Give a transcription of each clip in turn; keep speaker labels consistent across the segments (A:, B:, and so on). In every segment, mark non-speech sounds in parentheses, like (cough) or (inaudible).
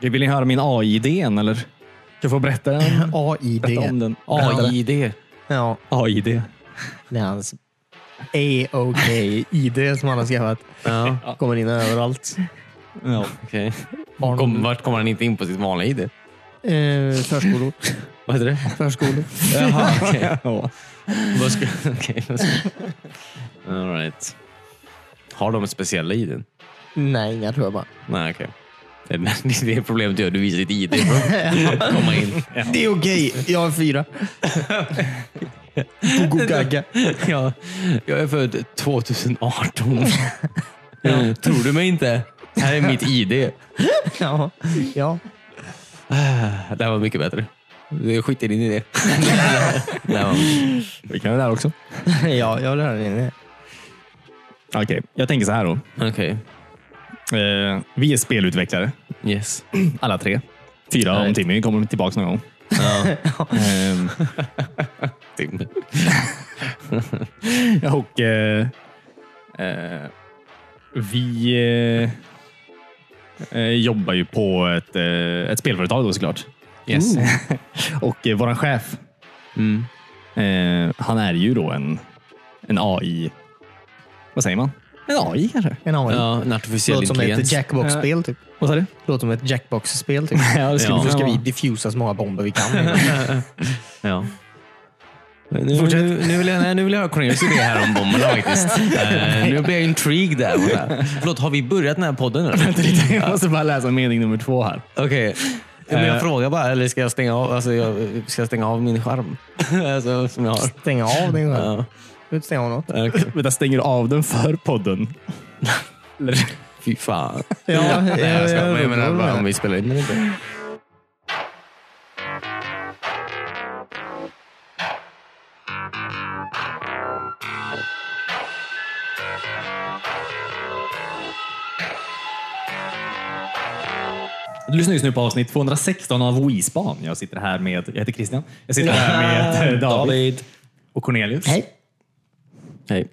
A: Det vill ni höra min AI-idén eller? Jag får
B: (laughs)
A: berätta,
C: Eh,
A: den, berätta om
C: AID.
A: den.
C: Berätta det.
A: AI-idé.
C: Ja,
A: AI-idé.
C: det är hans AOK-ID som han har skaffat.
B: Ja,
C: Kommer in överallt.
A: Ja.
B: okej.
C: Barn-
B: Kom, vart kommer han inte in på sitt vanliga ID?
C: Eh, förskolor.
B: Vad heter det?
C: Förskolor.
B: (laughs) Jaha, okej.
A: Ja.
B: Vad ska... (laughs) okej, vad ska- All right. Har de speciella ID?
C: Nej, inga tror jag bara.
B: Nej, okej. Det är (laughs) det är problemet du har. Du visar ditt ID (laughs) för att komma in.
C: Det är okej. Jag
B: (laughs)
C: är fyra. Gogo Gaga.
B: Ja, jag är född (laughs) 2018. Tror du mig inte? Här är mitt ID.
C: Ja. ja.
B: Det här var mycket bättre. Jag skiter in i (laughs) det. det här var...
A: Vi kan göra det här också.
C: ja, jag vill höra din idé.
A: Okej, jag tänker så här då.
B: Okej.
A: Eh, vi är spelutvecklare,
B: Yes.
A: alla tre. Fyra
B: Nej.
A: om Timmy kommer tillbaka någon gång.
B: Ja.
A: Ehm,
B: Tim.
A: och eh, eh, vi eh, eh, jobbar ju på ett, eh, ett spelföretag då såklart.
B: Yes.
A: Och eh, våran chef,
B: Mm.
A: eh, han är ju då en, en AI. Vad säger man? En AI kanske?
C: En AI.
B: Ja, en artificiell
C: Låter som
B: intelligens.
C: ett Jackbox-spel typ.
A: Vad sa du?
C: Låter som ett Jackbox-spel typ.
A: Ja, det skulle
B: Ja.
A: kunna
C: Nu ska
A: vara.
C: vi diffusa så många bomber vi kan.
B: Ja. Nu, nu, nu, vill jag, nej, nu vill jag höra Cornelius idé här om bomberna (laughs) faktiskt. Eh, nu blir jag intrigued där. borta. Förlåt, har vi börjat den här podden eller?
A: Vänta lite, (laughs) jag måste bara läsa mening nummer två här.
B: Okej. Ja, men
A: Eh.
B: jag frågar bara, eller ska jag stänga av, alltså, jag, ska jag stänga av min skärm? (laughs) alltså, som jag har.
C: Stänga av den själv.
B: Ja,
C: Du inte stänga av något.
B: okej.
A: Vänta, stänger du av den för podden? Eller?
B: Fy fan.
C: Ja,
B: Nej, jag skojar. Men jag menar bara om
C: vi...
B: vi spelar in eller inte.
A: Du lyssnar just nu på avsnitt 216 av Wispan. Jag sitter här med, jag heter Christian. Jag sitter
B: (laughs)
A: här med eh, David, och Cornelius.
C: Hej.
B: Hej.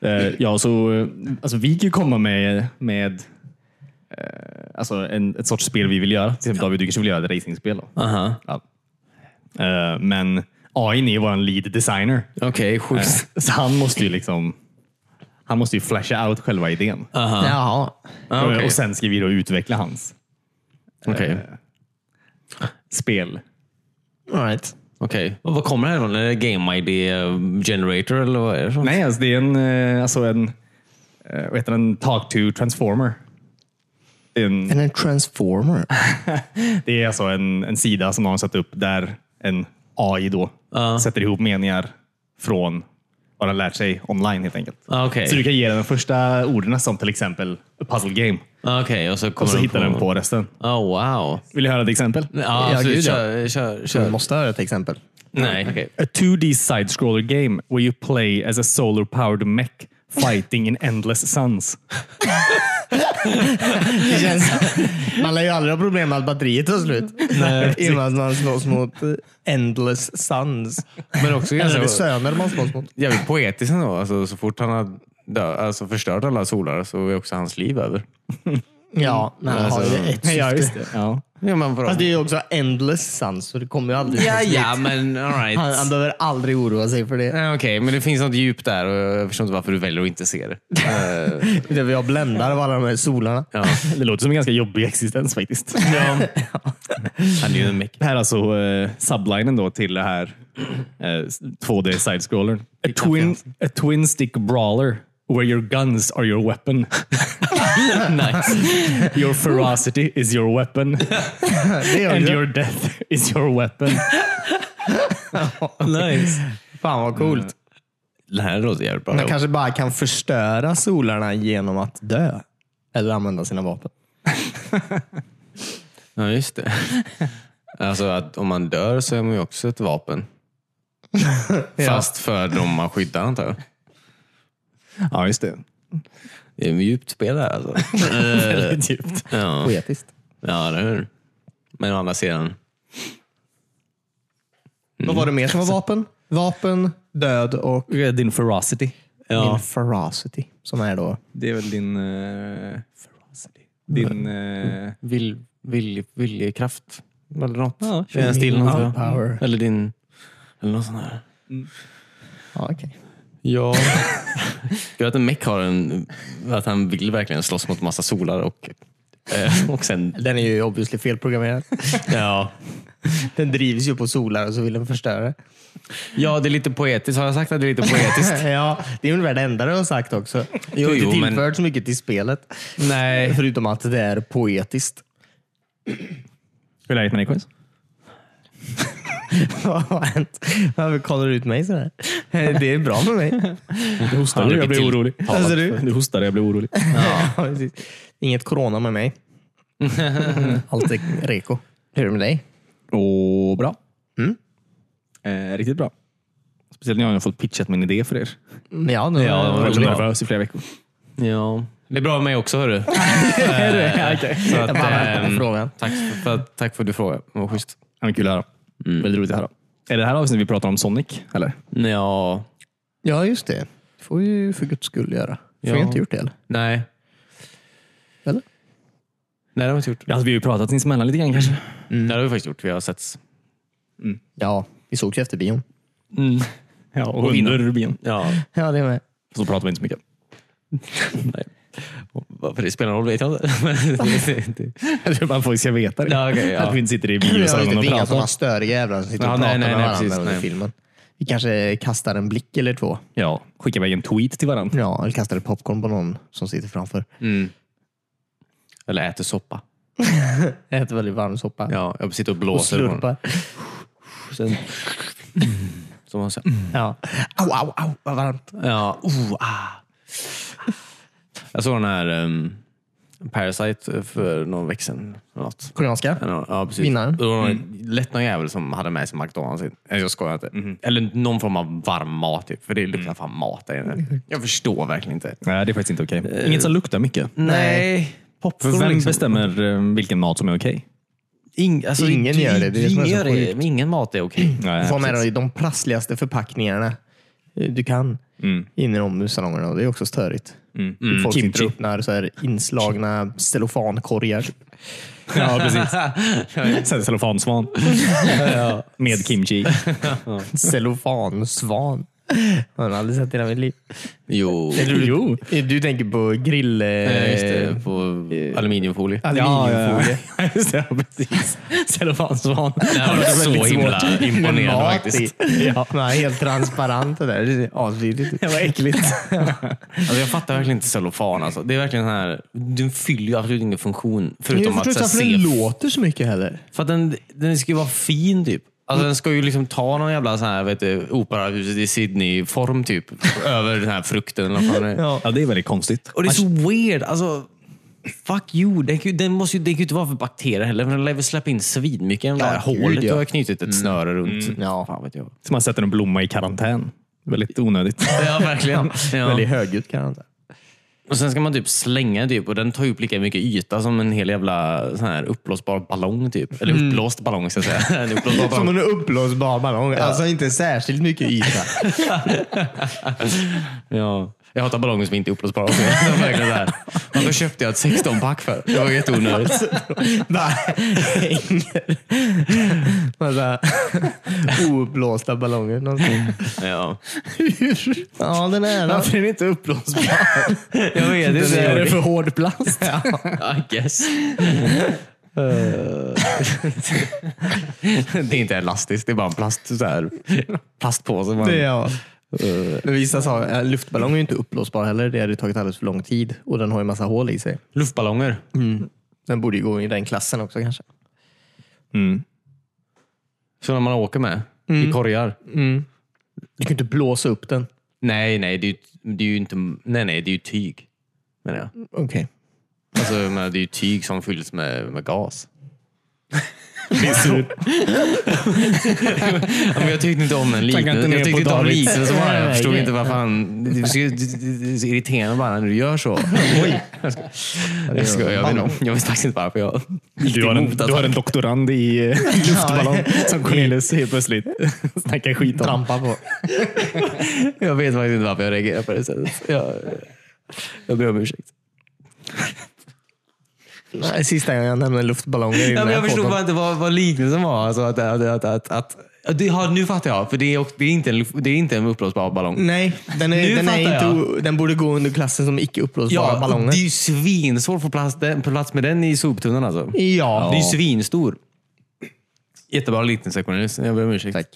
A: Eh, Ja, så, eh, alltså, vi kan ju komma med, med eh, alltså, en, ett sorts spel vi vill göra. Till exempel David, du kanske vill göra ett racingspel. Då.
B: Aha.
A: Ja. Eh, Men AI är vår lead designer. (laughs)
B: Okej, sjukt.
A: Så han måste ju liksom han måste ju flasha out själva idén.
B: Aha.
C: Jaha.
B: Ah, okej.
A: Och sen ska vi då utveckla hans eh,
B: Okej.
A: spel.
C: All right.
B: Okej. eh. Och Vad kommer det här ifrån? Är det Game ID Generator eller vad är det? för-
A: Nej, alltså det är en, eh, alltså en, eh, vad heter den, talk to transformer. Det är En,
C: En en transformer.
A: det är alltså en, en sida som någon har satt upp där en AI då sätter ihop meningar från vad den lärt sig online helt enkelt.
B: Ah, Okej,
A: Så du kan ge den de första orden som till exempel a puzzle game
B: Ah, okej. och så
A: och
B: kommer
A: så hittar den på resten.
B: Oh, wow.
A: Vill du höra ett exempel?
B: Ja,
C: Ja,
B: absolut.
C: gud, ja.
B: kör,
C: Mm.
B: kör,
C: Du
B: kör.
C: måste ha ett exempel.
B: Nej. Okay.
A: A 2D side-scroller game where you play as a solar-powered mech fighting in endless
B: (laughs)
A: suns.
C: Det känns, (laughs) man lär ju aldrig ha problem med att batteriet tar slut. (laughs) Innan man slåss mot eh, Endless Suns.
B: Men också
C: Eller är Mm. det
B: ganska,
C: söner man slåss mot?
B: jävligt poetiskt ändå. Alltså, så fort han har dö, alltså, förstört alla solar så är också hans liv över.
C: Ja, men han har ju
B: Alltså,
C: ett syfte.
A: det. Ja.
B: Ja, men bra.
C: Fast det är ju också Endless Suns, så det kommer ju aldrig ta
B: ja,
C: slut.
B: ja, men alright.
C: Han, han behöver aldrig oroa sig för det.
B: Okej, men det finns något djup där och jag förstår inte varför du väljer att inte se det. Eh,
C: Det vi har bländar av alla de här solarna.
B: ja.
A: (laughs) Det låter som en ganska jobbig existens faktiskt.
B: Han är ju en meck.
A: Det här är alltså eh, sublinen då till det här eh, 2D side-scrollern. A twin, a twin stick brawler where your guns are your weapon.
B: (laughs) nice.
A: Your ferocity is your weapon
C: Det gör
A: and
C: ju.
A: your death is your weapon.
B: nice.
C: Fan vad coolt.
B: Det här låter jävligt bra.
C: Man kanske bara kan förstöra solarna genom att dö. Eller använda sina vapen.
B: Ja, just det. (laughs) Alltså att om man dör så är man ju också ett (laughs) vapen. Fast för de man skyddar antar jag.
A: Ja, just det.
B: Det är ett djupt spel där alltså. Eh,
A: Väldigt djupt.
B: ja.
C: Poetiskt.
B: ja, eller hur? Men å andra sidan.
C: Vad var det mer som var vapen? Vapen, död och
A: Din ferocity.
B: Eh. Ja.
C: min ferocity. Som är då...
A: Det är väl din... eh, ferocity. Din... eh,
B: Vill, vilje, viljekraft. Eller något.
C: Ja,
B: I den stilen. antar jag.
C: Power.
B: Eller din... Eller något sånt här.
C: Ja, okej.
B: Ja. Gör att en mech har en... Att han vill verkligen slåss mot massa solar och... eh, Och sen...
C: Den är ju obviously felprogrammerad.
B: (laughs) Ja.
C: Den drivs ju på solar och så vill den förstöra. det.
B: ja, det är lite poetiskt. Har jag sagt att det är lite poetiskt?
C: (laughs) ja, det är ungefär det enda du har sagt också. Du
B: Jo,
C: har inte
B: jo, men-
C: tillfört så mycket till spelet.
B: Nej.
C: Förutom att det är poetiskt. (laughs)
A: Hur är läget med dig Chris?
C: Vad har hänt? Varför kollar du ut mig sådär? Eh, Det är bra med mig.
A: Du hostade,
B: jag blir
A: orolig.
C: Alltså, du?
A: du hostade, jag blev orolig.
C: (laughs) Ja, precis. Inget corona
B: (laughs)
C: med mig. Allt är reko. Hur är det med dig?
A: Och bra. Mm. Eh, riktigt bra. Speciellt när jag har fått pitchat min idé för er.
C: Ja, nu,
B: Ja, det
A: Jag
B: var
A: har varit
B: väldigt bra.
A: nervös i flera veckor.
B: Ja. Det är bra med mig också,
C: (laughs)
B: hörru. Eh, Så att,
C: Jag bara väntar på
B: ehm,
C: frågan.
B: Tack för, för, att- tack för att du frågade. Vad schysst.
A: Ja, men kul att höra. Väldigt roligt att höra. Är det här avsnittet vi pratar om Sonic? Eller?
B: Ja.
C: Ja, just det. Det får vi ju för guds skull göra. Får
B: Ja.
C: vi inte gjort det eller?
B: Nej.
C: Eller?
B: Nej, det har vi inte gjort.
A: Alltså, vi har ju pratat sinsemellan lite grann kanske.
C: Mm.
B: Nej, det har vi faktiskt gjort. Vi har setts.
C: Ja, vi sågs ju efter bion. Mm.
A: Ja, och, under Rubin.
B: Ja.
C: Ja, det med.
A: Så pratar vi inte så (laughs) mycket.
B: (laughs) Varför det spelar någon roll vet jag inte. (laughs) Men-
A: Jag tror bara folk ska veta det.
B: Ja, okej, ja.
A: Att vi inte sitter i
C: Ja, just
A: biosalen
C: det,
A: och
C: det är inga
A: pratar.
C: sådana störiga jävlar som sitter och
B: Ja, nej, nej,
C: pratar med
B: nej,
C: varandra
B: precis,
C: under
B: nej.
C: filmen. Vi kanske kastar en blick eller två.
A: Ja, skicka iväg en tweet till varandra.
C: Ja, eller kastar ett popcorn på någon som sitter framför.
B: mm. Eller äter soppa.
C: Jag äter väldigt varm soppa.
B: Mm. Ja, jag sitter och
C: Och
B: blåser. på den.
C: slurpar.
B: Sen... (laughs) Som man säger.
C: Ja. Au, au, au, vad varmt.
B: Ja. Oh, ah. Jag såg den här ehm, Parasite för någon vecka sedan. eller Något.
C: Koreanska?
B: Eller någon- Ja, precis.
C: Vinnaren. Mm.
B: Det var någon, lätt någon jävel som hade med sig McDonalds. in. Nej, Jag skojar inte.
C: Mhm.
B: Eller någon form av varm mat. Typ. För det
C: Mm.
B: luktar fan mat där inne. Jag förstår verkligen inte.
A: Nej, det är faktiskt inte okej. Inget som luktar mycket.
B: Nej.
A: Eh, För
B: Popcorn
A: vem
B: liksom.
A: bestämmer eh, vilken mat som är okej?
B: Ing, alltså,
C: Ingen
B: det-
C: gör det. Det är det som är så
B: ingen, gör
C: sjukt. Mm.
B: ingen mat är (laughs) okej.
A: Nej,
C: Få med
A: precis.
C: dig de prassligaste förpackningarna eh, du kan
B: Mm.
C: in i omhussalongerna. och Det är också störigt. Folk sitter
A: Kimchi.
C: och öppnar så här inslagna cellofankorgar.
A: (laughs) Ja, precis. Sen Cellofansvan. Med kimchi.
C: (laughs) Cellofansvan. Jag har aldrig sett det i hela mitt liv.
B: Jo.
C: Jo. Du tänker på grill...
B: Eh,
C: eh,
B: Just det, på aluminiumfolie.
C: Aluminiumfolie.
A: ja. (laughs) Just det, ja, precis. Cellofansvan.
B: Det
C: (laughs)
B: här var så himla
C: Med
B: imponerande
C: mat
B: faktiskt.
C: i. Ja. Man är helt transparent och där. Det är asvidrigt.
A: Det var äckligt.
B: Alltså jag fattar verkligen inte cellofan. Alltså. Det är verkligen den här, den fyller ju absolut ingen funktion.
C: Jag
B: Förutom
C: förstår
B: att
C: inte
B: så här, Mm.
C: varför den
B: se...
C: låter så mycket heller.
B: För att den, den ska ju vara fin typ. Alltså den ska ju liksom ta någon jävla så här, vet du, operahuset i Sydney-form typ. över den här frukten eller vad fan det är.
A: Ja, det är väldigt konstigt.
B: Och det är så weird. Alltså, fuck you. Den, kan ju- den, måste ju, den kan ju inte vara för bakterier heller, men den lär väl släppa in svinmycket. Ja,
C: Ja, gud,
B: hålet
C: ja. Mm.
B: har jag knutit ett snöre runt.
C: Ja.
B: Fan vet jag.
A: Som man sätter en blomma i karantän. Väldigt (laughs) onödigt.
B: (laughs) Ja, verkligen.
C: Väldigt
B: Ja.
C: högljutt kan jag säga.
B: Och sen ska man typ slänga typ, och den tar ju upp lika mycket yta som en hel jävla sån här uppblåsbar ballong. Typ. Eller uppblåst ballong ska jag
C: (laughs)
B: säga. En uppblåsbar
C: Mm. Som
B: ballong.
C: en uppblåsbar ballong. Alltså inte särskilt mycket yta. (laughs)
B: Ja. Jag hatar ballonger som inte är uppblåsbara. (laughs) också. Det är verkligen så här. Varför köpte jag ett 16-pack för? Det var
C: (laughs)
B: jätteonödigt.
C: Bara hänger. (laughs) Massa ouppblåsta ballonger. (laughs) någonstans.
B: Ja.
C: Ja, den är där.
A: är inte
C: (laughs)
A: uppblåsbar?
B: Jag vet
C: Den är det
B: inte.
C: för hård (laughs) plast.
B: I guess.
C: (laughs)
B: det är inte elastiskt, det är bara en plast, så här, plastpåse. Man,
C: Det är jag. Men vissa sa, eh, luftballong är ju inte uppblåsbar heller. Det hade tagit alldeles för lång tid och den har ju massa hål i sig.
B: Luftballonger.
C: Den borde ju gå i den klassen också kanske.
B: Så när man åker med
C: Mm.
B: i korgar.
C: Du kan ju inte blåsa upp den.
B: Nej, nej, det är, ju- det är ju inte... Nej, nej, det är ju tyg. Menar jag.
C: Okej.
B: Alltså, jag menar, det är ju tyg som fylls med, med gas. Ja, men jag tyckte inte om den
A: Klanka inte
B: liknelsen.
A: ner
B: Jag tyckte
A: på
B: inte om
A: David.
B: liknelsen som var
C: Nej,
B: Jag
C: nej,
B: förstod
C: nej.
B: inte vad fan... Det är så- det är så irriterande bara när du gör så. (laughs) Oj. Jag skojar. Jag vet, inte- jag vet faktiskt inte varför jag gick
A: Du har, en,
B: emot.
A: du har
B: Alltså.
A: en doktorand (laughs) i eh, luftballong som Cornelius helt plötsligt (laughs) snackar skit om.
C: Trampa på.
B: Jag vet faktiskt inte varför jag reagerar på det sättet. Jag, jag ber om ursäkt.
C: Sista gången jag nämnde luftballonger i
B: Ja,
C: den
B: men
C: här
B: jag förstod
C: podden.
B: bara inte vad, vad liknelsen var. Alltså att, att, att, att, att, att, det har, nu fattar jag. För det är, och- det är inte en, luft- det är inte en uppblåsbar ballong.
C: Nej, den,
B: Nu
C: är, den, är
B: fattar
C: inte,
B: jag.
C: o- den borde gå under klassen som icke uppblåsbara
B: Ja,
C: ballonger.
B: det är ju svinsvårt att få plats, den- på plats med den i soptunnan alltså.
C: Ja.
B: Det är ju svinstor. Jättebra liknelse Cornelius. Jag ber om ursäkt. Tack.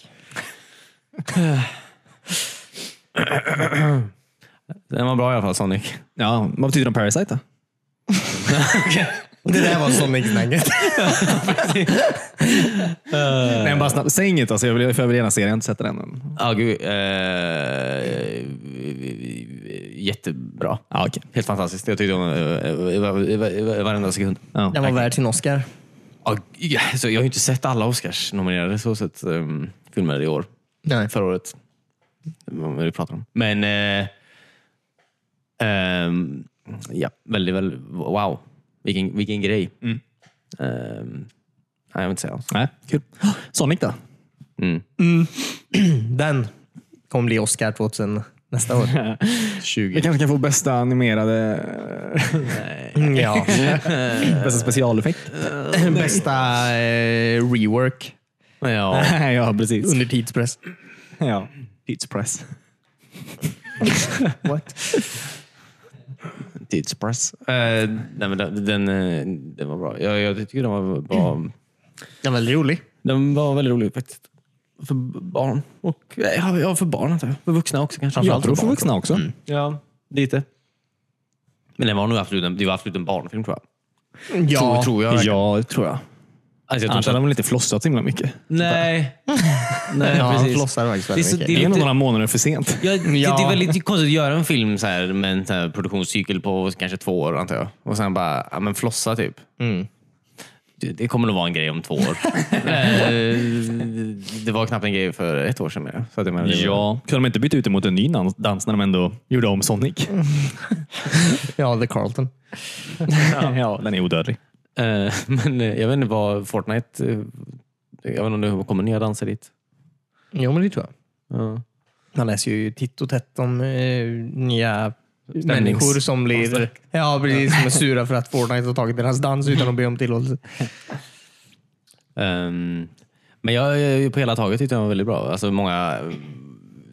B: Den var bra i alla fall Sonic.
A: Ja, vad betyder de Parasite då?
C: Det där var Sonic-snacket.
A: Nej, men bara snabbt. Säg inget, alltså, jag, vill, för jag vill gärna se den. Jag har inte sett den än.
B: Ja, gud. Eh, jättebra.
A: Ja, okej.
B: Helt fantastiskt. Jag tyckte om eh, varenda sekund.
A: Ja.
C: (laughs) Den var värd sin Oscar.
B: Ja, ja, så jag har ju inte sett alla Oscars-nominerade så sett, um, filmer i år.
C: Nej.
B: Förra året. Vad vi pratar om. Men... Eh, ehm, ja, väldigt, väldigt... Wow. Vilken, vilken grej. Ehm, Mm. nej, jag vill inte säga Mm. alls.
A: Nej, kul. Sonic då?
C: Den kommer bli Oscar 2000 nästa (laughs) år.
B: 20.
A: Vi kanske kan få bästa animerade,
C: Mm, (laughs) Ja.
A: (laughs) bästa specialeffekt?
C: Bästa eh, rework
B: Ja.
A: (laughs) ja, precis.
C: under tidspress.
A: Ja. Pizza press.
C: What?
B: Tidspress. Eh, nej, men den, den, eh, den var bra. Jag, jag tycker den var bra.
C: Den var väldigt rolig.
B: Den var väldigt rolig faktiskt. För barn. Och, eh, ja, ja, för barn antar jag. För vuxna också kanske.
A: Jag
B: Framförallt
A: tror för Mm.
B: barn,
A: vuxna också.
B: Ja, lite. Men den var nog absolut en, det var absolut en barnfilm tror jag.
C: Ja.
B: Tror, tror jag. verkligen.
A: Ja, det tror jag.
B: Alltså, jag tror
A: Annars
B: inte
A: hade
B: att,
A: de väl inte flossat så himla mycket.
B: nej. (laughs) nej,
C: ja, han
B: precis.
C: flossar faktiskt väldigt
B: Det är så-
C: mycket.
A: Det är
B: lite-
A: nog några månader för sent.
B: Ja, det,
C: Ja.
B: det är väldigt konstigt att göra en film så här, med en så här produktionscykel på kanske två år antar jag. Och sen bara ja, men flossa typ. Det, det kommer nog vara en grej om två år. Eh, det var knappt en grej för ett år sedan. menar jag. Så att jag menar, det var-
A: Kunde de inte byta ut det mot en ny nan- dans när de ändå gjorde om Sonic?
C: Ja, The Carlton.
A: ja, den är odödlig.
B: Eh, men eh, jag vet inte vad Fortnite... eh, Jag vet inte om det kommer nya danser dit.
C: Jo, men det tror jag.
B: Ja.
C: Man läser ju titt och tätt om eh, nya människor som blir ja, precis, som är sura för att Fortnite har tagit deras dans utan att be om tillåtelse.
B: Ehm, men jag, jag, på hela taget tyckte jag var väldigt bra. Alltså många,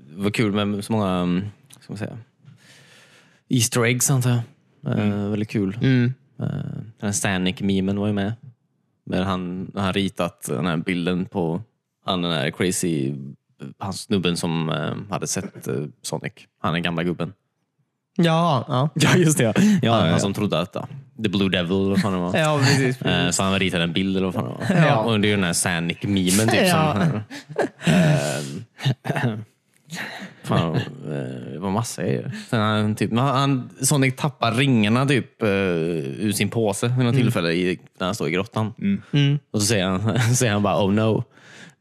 B: det var kul med så många mm, ska man säga, Easter eggs antar jag. Eh, Väldigt kul.
C: Mm.
B: Eh, den här Stanik-memen var ju med. Med han, han ritat den här bilden på han den här crazy han snubben som eh, hade sett eh, Sonic. Han den gamla gubben.
C: Ja, ja.
A: Ja, just det. Ja,
B: han,
A: ja,
B: han
A: ja.
B: som trodde att ja, The Blue Devil eller vad fan det var.
C: ja (laughs) precis.
B: Eh, Så han ritade en bild eller vad fan det var.
C: Ja.
B: Och det är ju den här Sanic-memen. Typ,
C: Ja.
B: som, Eh, fan, eh, det var massa grejer. Sen han, typ, men han, Sonic tappar ringarna typ, eh, ur sin påse vid något tillfälle i, när han står i grottan.
C: Mm.
B: Och så säger han, (laughs) säger han bara oh no.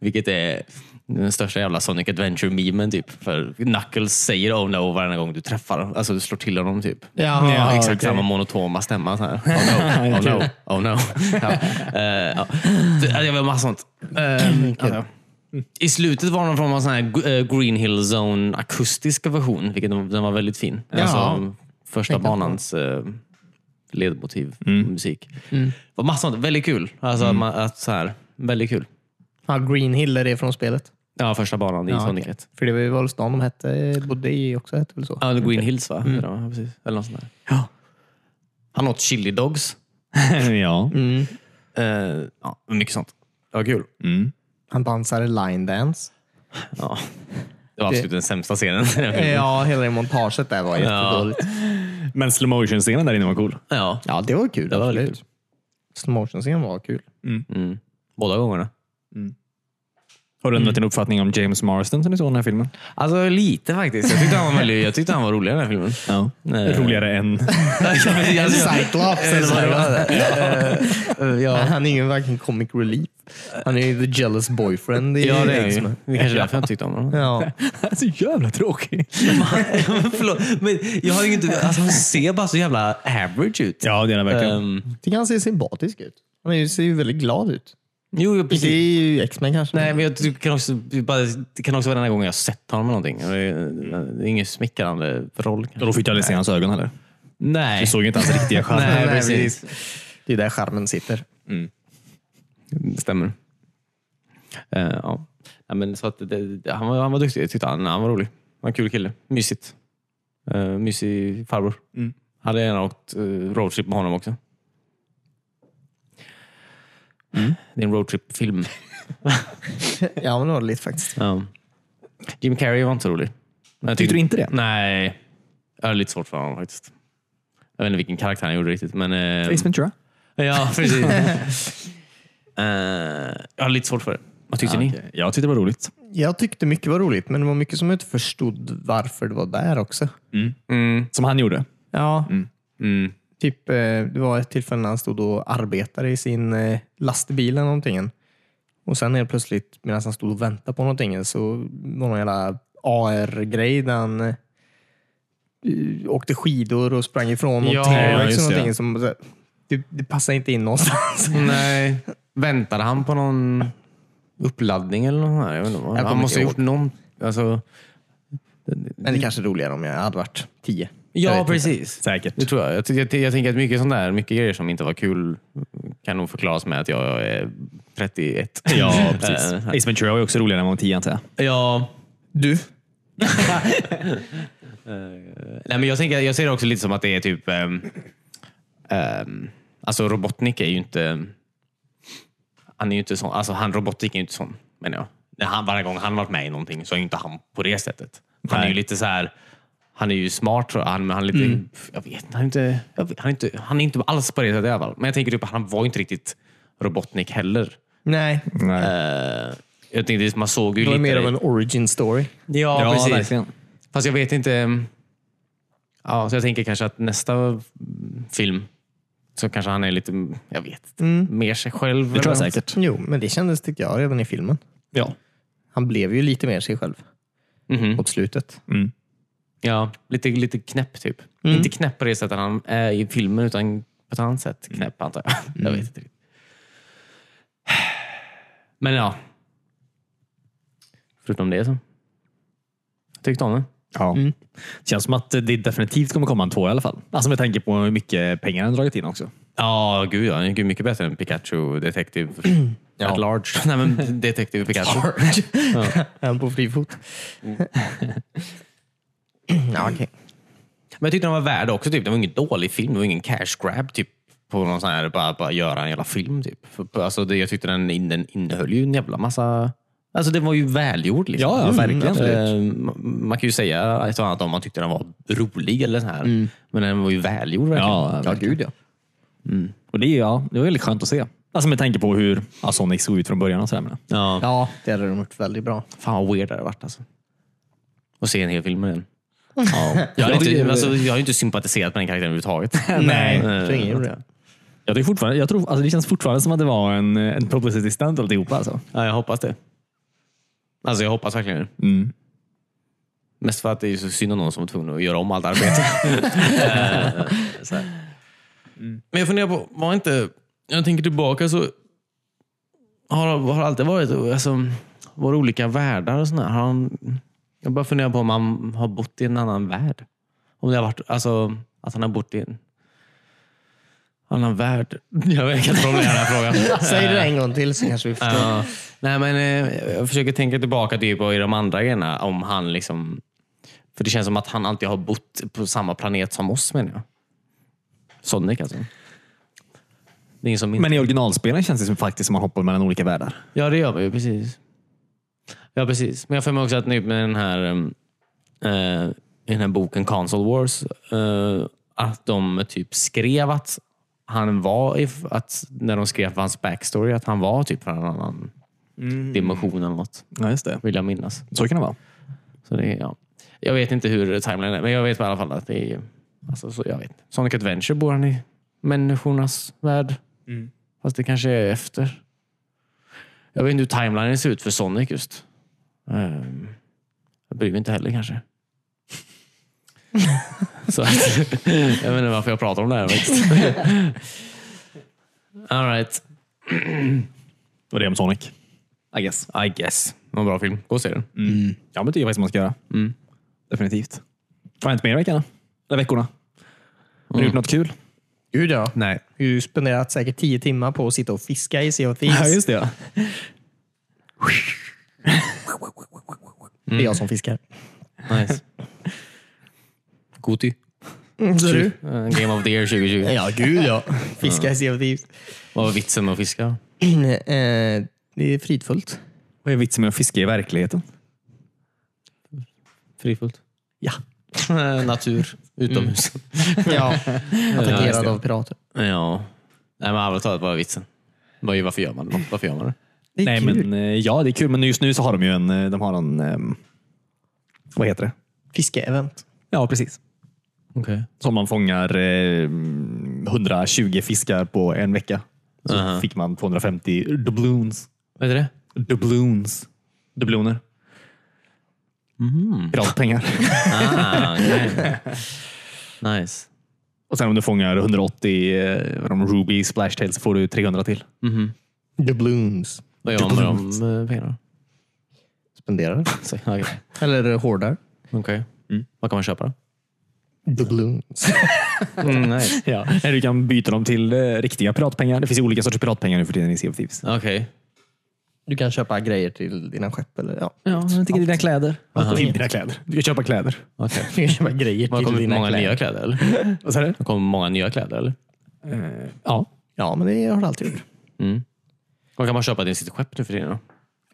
B: Vilket är den största jävla Sonic Adventure-memen. Typ. För Knuckles säger oh no varje gång du träffar honom. Alltså du slår till honom typ.
C: Ja,
B: Ja, exakt
C: okej.
B: samma monotoma stämma. Så
C: (laughs)
B: här. Oh no, oh no, oh no. (laughs) Ja. Eh, ja. Det- Det var massa sånt.
C: Ehm,
B: Eh, ja. I slutet var det någon form av sån här gu- eh, Green Hill Zone akustisk version, vilket den den var väldigt fin. Alltså, första banans eh, ledmotiv och musik. Det var massa sånt. Väldigt kul. Alltså, att man, att, så här, väldigt kul.
C: Ja, Green Hill är det från spelet.
B: Ja, första banan i
C: Ja,
B: Sonic
C: okej.
B: 1.
C: För det var ju väl stan de hette, bodde i också, hette väl så?
B: Ja, Green Hills va? Ja, precis. Eller något sånt där.
A: Ja.
B: Han åt chili dogs.
A: (laughs) ja.
B: Eh, ja, mycket sånt. Det var kul.
C: Han dansade line dance.
B: Ja. Det var absolut den sämsta scenen.
C: Ja, hela det montaget där var jättedåligt.
A: (laughs) Men slow motion scenen där inne var cool.
B: ja.
C: Ja, det var kul.
B: Det var väldigt
C: absolut. Slow motion-scenen var kul.
B: Mm. Båda gångerna.
A: Har du ändrat din uppfattning om James Marston sen du såg den här filmen?
B: Alltså lite faktiskt. Jag tyckte han var, väldigt, jag tyckte han var rolig i den här filmen. Eh,
A: Ja.
B: Nej.
A: Eh. Roligare än...
B: Alltså,
C: Cyclops eller vad det
B: Eh,
C: var. Nej,
B: ja.
C: Han är ingen varken comic relief. Han är ju the jealous boyfriend i
B: ja, det är ju.
C: X-Men.
B: Det är kanske är därför jag inte tyckte om (laughs) honom.
C: Ja.
A: så jävla tråkig.
B: Men Förlåt, men jag har ju inte... Alltså, han ser bara så jävla average ut.
A: Ja, det är den verkligen.
B: Ehm,
C: Tycker han ser sympatisk ut. Han är ju, ser ju väldigt glad ut.
B: jo, jo,
C: Det
B: precis.
C: är ju X-Men kanske.
B: Nej, men jag tycker- kan också, bara, det kan också vara den här gången jag har sett honom eller någonting. Det är, det är ingen smickrande roll. kanske.
A: Då fick jag aldrig se hans ögon heller.
B: Nej.
A: Vi såg ju inte hans riktiga charm.
B: Nej,
C: Nej,
B: precis.
C: Det är där charmen sitter.
B: Stämmer. Eh, ja. Nej, men så att det, det, han, var, han var duktig, jag tyckte han. Han var rolig. Han var en kul kille. Mysigt. Uh, mysig farbror.
A: Mm.
B: Hade gärna åkt eh, roadtrip med honom också.
A: Mm.
B: Det är en roadtrip-film.
C: Ja, men det var det lite faktiskt.
B: Ja. Jim Carrey var inte så rolig. Men jag
A: Tyckte du inte det?
B: Nej. Jag har lite svårt för honom faktiskt. Jag vet inte vilken karaktär han gjorde riktigt. Men, eh,
A: Ace Ventura?
B: ja,
A: (laughs)
B: precis. Eh, jag har lite svårt för det. Vad tyckte ni?
A: Ah, Okej. Jag tyckte det var roligt.
C: Jag tyckte mycket var roligt, men det var mycket som jag inte förstod varför det var där också.
B: Mm,
A: Som han gjorde.
C: Ja,
B: mm,
C: Typ, eh, det var ett tillfälle när han stod och arbetade i sin eh, lastbil eller någonting. Och sen helt plötsligt, medan han stod och väntade på någonting, så var någon jävla AR-grej där han eh, åkte skidor och sprang ifrån någon
B: Ja,
C: T-Rex
A: just
C: eller
A: det.
C: någonting. Som, så här, det, det passar inte in någonstans.
B: (laughs) Nej. Väntade han på någon uppladdning eller något? Här? Jag vet inte. vad-
C: Jag
B: Han
C: kommer
B: måste ha
C: inte
B: gjort någon... Alltså,
C: Men det kanske är roligare om jag hade varit tio. Jag
B: ja,
C: vet
B: precis.
A: Säkert.
B: Det tror jag. Jag, ty- jag, ty- jag tänker att mycket sånt där, mycket grejer som inte var kul kan nog förklaras med att jag är 31. (laughs)
A: Ja, precis.
B: Eh,
A: Ace Ventura var ju också roligare när man var tio, antar jag.
B: ja.
C: Du?
B: Nej, men jag, tänker, jag ser det också lite som att det är typ... ehm, ehm, alltså Robotnik är ju inte... Han är ju inte sån. Alltså han Robotnik är ju inte sån, menar jag. När han, varje gång han varit med i någonting så är ju inte han på det sättet. Han är
A: Nej.
B: ju lite så här... Han är ju smart, tror jag, han, men han är lite...
C: Mm.
B: Jag vet inte, han är inte, jag vet, han är inte... Han är inte alls på det sättet i alla fall. Men jag tänker typ att han var ju inte riktigt Robotnik heller.
C: Nej,
A: Nej.
B: Eh, jag tänkte, man såg ju
C: det var
B: lite...
C: mer av en origin story.
B: Ja,
A: Ja,
B: precis.
A: verkligen.
B: Fast jag vet inte. ehm, Ja, så jag tänker kanske att nästa film så kanske han är lite, jag vet inte, mer sig själv.
A: Det tror jag
B: eller-
A: säkert.
C: Jo, men det kändes, tyckte jag, redan i filmen.
A: Ja.
C: Han blev ju lite mer sig själv
B: Mhm.
C: mot slutet.
B: Ja, lite, lite knäpp typ. Inte knäpp på det sättet han är i filmen utan på ett annat sätt knäpp antar jag. Jag vet inte. riktigt. Men ja. Förutom det så. Jag tyckte om den.
A: Ja. Känns som att det definitivt kommer komma en två i alla fall. Alltså med tanke på hur mycket pengar han dragit in också.
B: Ja, gud ja. Den är mycket bättre än Pikachu (clears throat) Detective at large. (laughs) Nej, men Detective Pikachu.
C: Är han på fri fot?
A: Mm.
C: ja, okej.
B: Men jag tyckte den var värd också. Typ. Det var ingen dålig film. Det var ingen cash grab typ, på någon sån här, bara, bara göra en jävla film. Typ. För, alltså, det, jag tyckte den, in- den innehöll ju en jävla massa... Alltså den var ju välgjord. Liksom.
A: Ja, ja, verkligen.
B: Eh, ma- man kan ju säga ett och annat om man tyckte den var rolig eller så här. Men den var ju välgjord verkligen.
A: gud Mm. ja. Och det, är- ja, det var väldigt skönt att se. Alltså med tanke på hur ja, Sonic såg ut från början. Och sådär, men.
B: Ja.
C: Ja, det hade de gjort väldigt bra.
B: Fan vad weird det hade varit alltså. Att se en hel film med den.
A: ja.
B: Jag har,
A: jag,
B: inte,
A: tycker,
B: alltså, jag har ju inte sympatiserat med den karaktären överhuvudtaget. (laughs) eh,
C: Nej,
B: Nej.
C: så ingen gjorde det.
A: jag tycker fortfarande, jag tror, alltså det känns fortfarande som att det var en, en publicity stunt alltihopa. Alltså.
B: Ja, jag hoppas det. Alltså jag hoppas verkligen det.
A: Mm.
B: Mest för att det är så synd om någon som är tvungen att göra om allt (laughs) arbete. Eh, så här. Men jag funderar på, var inte... Jag tänker tillbaka så har, har det alltid varit alltså, våra olika världar och sådär. Har han, jag bara funderar på om han har bott i en annan värld. Om det har varit, alltså, att han har bott i en annan värld. Jag vet inte om det är den här (laughs) frågan.
C: Säg det en gång till så kanske vi förstår.
B: Ja. (laughs) Nej, men, eh, jag försöker tänka tillbaka typ på i de andra grejerna. Om han liksom, för det känns som att han alltid har bott på samma planet som oss menar jag. Sonic alltså. Det är ingen som minns.
A: Men i originalspelen känns det som faktiskt som man hoppar mellan olika världar.
B: Ja, det gör vi ju. Precis. Ja, precis. Men jag får mig också att nu med den här, eh, eh, i den här boken Console Wars, eh, att de typ skrev att han var, i, att när de skrev hans backstory, att han var typ från en annan dimension eller något,
A: Ja, just det.
B: vill jag minnas.
A: Så kan det vara.
B: Så det, ja. Jag vet inte hur timeline är, men jag vet i alla fall att det är... Alltså, så jag vet. Sonic Adventure bor han i människornas värld. Fast det kanske är efter. Jag vet inte hur timelinen ser ut för Sonic just. Ehm, jag bryr mig inte heller kanske. (laughs) så att, (laughs) jag vet inte varför jag pratar om det här. faktiskt. (laughs) All right.
A: Det var det om Sonic.
B: I guess. I guess. Det var en bra film. Gå och se den.
A: Ja, men det tycker jag faktiskt man ska göra. Mm. Definitivt. Vad har hänt med er i veckan? då? Eller veckorna? Har ni gjort något kul?
C: Gud ja.
A: Nej.
C: Du spenderat säkert tio timmar på att sitta och fiska i Sea of Thieves.
A: Ja, just det. ja.
C: Det är jag som fiskar.
B: Nice. Goti.
A: Mm.
C: Så du?
B: Eh, Game of the year 2020.
C: (laughs) Ja, gud ja. Fiska i Sea of Thieves.
B: Vad var vitsen med att fiska?
C: Eh, Det är fridfullt.
A: Vad är vitsen med att fiska i verkligheten?
B: Frifullt.
C: Ja.
B: Eh, Natur. Utomhus.
A: (laughs)
C: ja.
B: Ja, just
C: Attackerad
B: det.
C: av pirater.
B: Mm. Ja. Nej, men allvarligt talat, vad är vitsen? Vad- Varför gör man det? Varför gör man det?
C: Det är
A: Nej,
C: kul.
A: men, eh, ja, det är kul, men just nu så har de ju en... eh, De har en ehm, vad heter det?
C: Fiskeevent.
A: Ja, precis.
B: Okej.
A: Som man fångar eh, 120 fiskar på en vecka. Så
B: Aha.
A: fick man 250 doubloons.
B: Vad heter det?
A: Doubloons. Doubloner.
C: Mhm.
A: Piratpengar.
B: Ah, okej. Nice.
A: (laughs) Och sen om du fångar 180 eh, vad de Ruby Splashtails så får du 300 till.
C: The Blooms.
B: Vad gör man med de eh, pengarna?
C: Spenderar.
B: Så- Okej.
C: Eller eh, hårdar.
B: (laughs) Okej. Vad kan man köpa då?
C: The Blooms.
B: nice.
A: Ja. Eller (laughs) du kan byta dem till eh, riktiga piratpengar. Det finns ju olika sorters piratpengar nu för tiden i Sea of Thieves.
B: Okej.
C: Du kan köpa grejer till dina skepp. Eller, ja.
A: Ja, jag tycker dina kläder. Till dina kläder. Du kan köpa kläder.
B: Okej.
C: Du kan köpa grejer
B: Har det
C: till
B: kommit
C: dina
B: många
C: kläder.
B: nya kläder? Eller?
A: Vad sa du?
B: Det kommer många nya kläder, eller?
A: Eh, Ja.
C: Ja, men det har det alltid gjort.
B: Mm. Vad kan man köpa till sitt skepp nu för tiden? Då?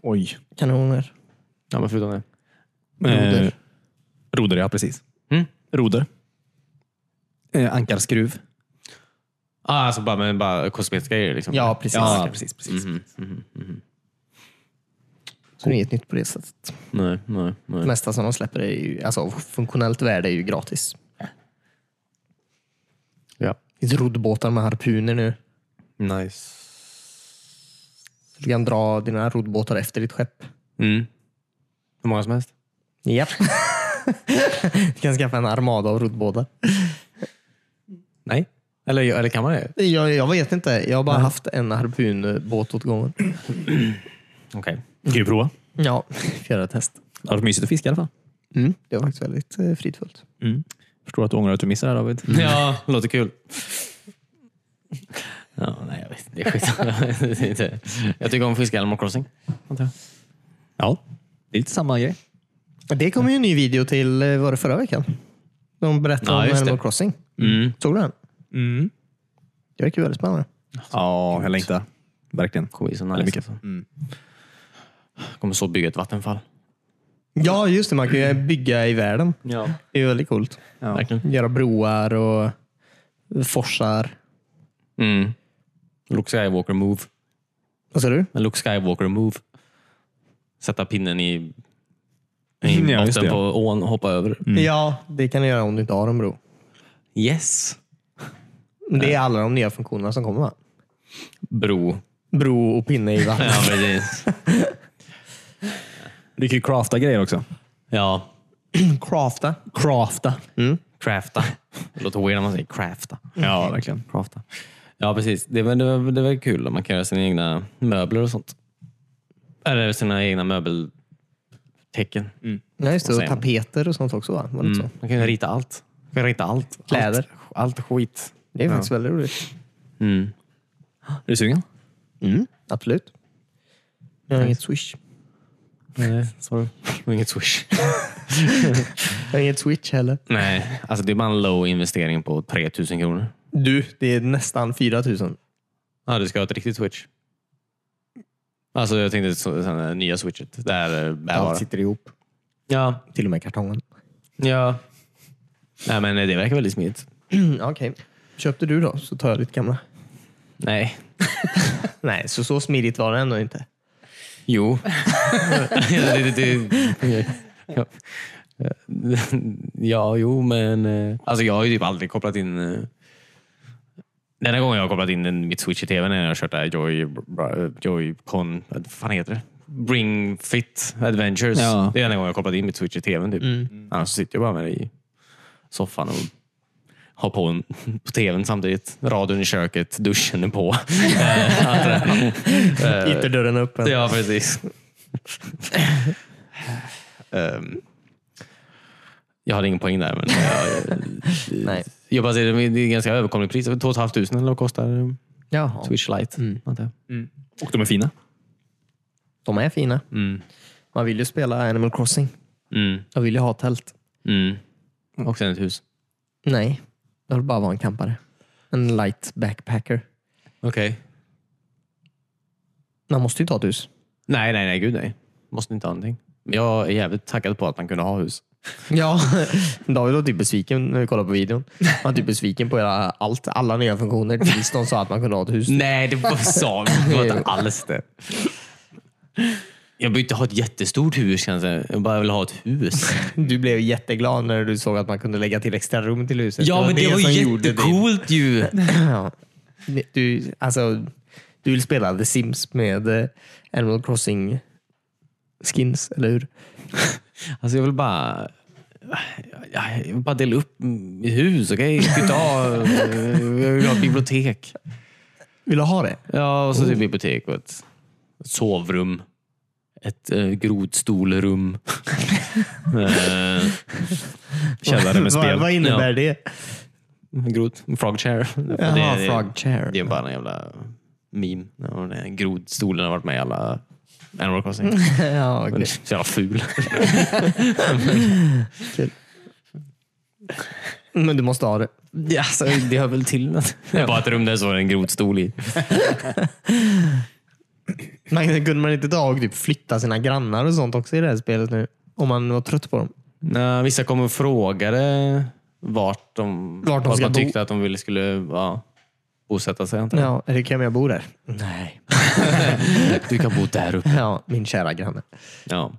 A: Oj.
C: Kanoner.
B: Ja, men förutom det.
C: Roder.
A: Eh, roder, ja precis.
B: Mm.
A: Roder. Eh, ankarskruv.
B: Ah, alltså bara, men bara kosmetiska grejer? Liksom.
C: Ja, precis.
A: Ja, precis. precis.
B: Mm-hmm,
C: Så det är inget nytt på det sättet.
B: Nej, nej,
C: Det
B: nej.
C: mesta som de släpper är ju, alltså av funktionellt värde är ju gratis.
B: Ja.
C: Det finns roddbåtar med harpuner nu.
B: Nice.
C: Så du kan dra dina roddbåtar efter ditt skepp.
B: Mm. Hur många som helst?
C: Japp. (laughs) du kan skaffa en armada av roddbåtar.
B: Nej. Eller, eller kan man det?
C: Jag, jag vet inte. Jag har bara haft en harpunbåt åt gången.
B: Okej.
A: Kan vi prova?
C: (laughs) Ja, göra ett test.
A: Det har varit mysigt att fiska i alla fall.
C: Mm. Det var faktiskt väldigt eh, fridfullt.
A: Mm. Förstår att du ångrar att du missar det här David.
B: (laughs) Ja, låter kul. Ja, nej, jag vet inte. Det är skit. Det är inte- jag tycker om fiska i Animal Crossing. antar jag.
A: Ja, det är lite samma grej.
C: Det kom ju en ny video till, eh, var det förra veckan? De berättade
B: Ja,
C: om
B: just
C: Animal
B: det.
C: Crossing.
B: Mm.
C: Såg du den?
A: Mm.
C: Det verkar ju väldigt spännande.
A: Ja, jag längtar. Verkligen.
B: Kommer bli så
A: Väldigt
B: nice.
A: mycket.
B: Alltså. Kommer så bygga ett vattenfall.
C: Ja, just det. Man kan ju bygga i världen.
B: Ja.
C: Det är väldigt coolt.
B: Verkligen.
C: Göra broar och forsar.
B: Mm. Luke Skywalker move.
C: Vad sa du?
B: En Luke Skywalker move. Sätta pinnen i, i
A: (laughs) Ja, just
B: botten
A: det.
B: på ån och hoppa över.
C: Ja, det kan du göra om du inte har en bro.
B: Yes.
C: Men det är alla de nya funktionerna som kommer va?
B: Bro.
C: Bro och pinne i vattnet.
B: Ja, precis.
A: (laughs) Du kan ju crafta grejer också.
B: ja.
C: (laughs)
B: Mm.
C: Crafta.
A: Crafta.
B: Crafta. Det låter weird när man säger crafta.
A: Ja, verkligen.
B: Crafta. Ja, precis. Det var, det var, det var kul om man kan göra sina egna möbler och sånt. Eller sina egna möbeltecken.
A: Mm.
C: Ja, just det.
B: Vad
C: Och
B: säger man?
C: tapeter och sånt också va? Var det inte så?
B: Man kan ju rita allt. Man kan rita allt.
C: Kläder.
B: Allt, allt skit.
C: Det är faktiskt väldigt roligt.
B: Mm.
A: Är du sugen?
C: Absolut. Jag har inget swish.
B: Nej, (laughs) sorry. Inget swish.
C: Jag har inget switch heller.
B: Nej, alltså det är bara en low investering på 3000 kronor.
C: Du, det är nästan 4000.
B: Ja, du ska ha ett riktigt switch. Alltså jag tänkte så, sån här nya switchet. Där eh, bärbara.
C: Allt sitter ihop.
B: Ja,
C: Till och med kartongen.
B: ja. Nej, men det verkar väldigt smidigt.
C: (clears throat) Okej. Köpte du då så tar jag ditt gamla.
B: Nej.
C: Nej, så, så smidigt var det ändå inte.
B: Jo. det, det, det. Ja. ja, jo, men... eh, Alltså jag har ju typ aldrig kopplat in... eh, Den enda gången jag har kopplat in en- mitt switch i tvn är när jag har kört det här Joy, eh, Joy-Con... Vad fan heter det? Bring Fit Adventures.
A: Ja.
B: Det är enda gången jag har kopplat in mitt switch i tvn. Typ. Annars sitter jag bara med det i soffan och har på, en, på tvn samtidigt. Radion i köket, duschen är på.
C: Eh, Ytterdörren är öppen.
B: Ja, (laughs) precis. (laughs) Ehm, jag hade ingen poäng där, men jag,
C: Nej.
B: Jag bara säger, det är ganska överkomligt pris. 2 500 eller vad kostar Mm.
C: Jaha.
B: Switch Lite? antar jag.
A: Och de är fina.
C: De är fina. Man vill ju spela Animal Crossing.
B: Mm.
C: Jag vill ju ha tält.
B: Mm. Och sen ett hus.
C: Nej, jag vill bara vara en kampare. En light backpacker.
B: Okej.
C: Man måste ju ta ett hus.
B: Nej, nej, nej. Gud nej. Måste inte ha någonting. Men jag är jävligt taggad på att man kunde ha hus.
C: Ja, (laughs) David var typ besviken när vi kollade på videon. Han var typ besviken på hela, allt, alla nya funktioner tills de sa att man kunde ha ett hus.
B: Nej, det var så. Det var inte alls det. Jag vill inte ha ett jättestort hus kanske. Jag bara vill ha ett hus.
C: Du blev jätteglad när du såg att man kunde lägga till extra rum till huset.
B: Ja, men det var
C: som gjorde
B: jättecoolt ju.
C: din- (laughs) Ja. Du, alltså, du vill spela The Sims med eh, Animal Crossing skins, eller hur?
B: Alltså jag vill bara... Jag vill bara dela upp i hus, okej? Jag vill inte ha- eh, Jag vill ha ett bibliotek.
C: Vill du ha det?
B: Ja, och så typ bibliotek och ett, ett sovrum. Ett eh, (laughs) grodstolrum. eh,
A: Källare (laughs)
C: (laughs)
A: med
C: Vad,
A: spel.
C: vad innebär det?
B: grod, frog chair.
C: Jaha,
B: Det är-
C: frog chair.
B: Det är bara en jävla meme. Ja, det är en Grodstolen har varit med i alla Animal Crossing.
C: (laughs) ja,
B: Den är
C: okej.
B: så jävla ful.
C: Men du måste ha det.
B: Alltså, det hör väl till något. Bara ett rum där så är det en grodstol i.
C: Man, kunde man inte ta och typ flytta sina grannar och sånt också i det här spelet nu? Om man var trött på dem.
B: Nej, vissa kom och frågade vart de,
C: Vart de ska
B: man
C: bo.
B: tyckte att de ville skulle ja, bosätta sig. Antar jag.
C: Ja, är det kan jag bo där?
B: (laughs)
C: Nej.
B: Du kan bo där uppe.
C: (laughs) Ja, min kära granne.
B: Ja.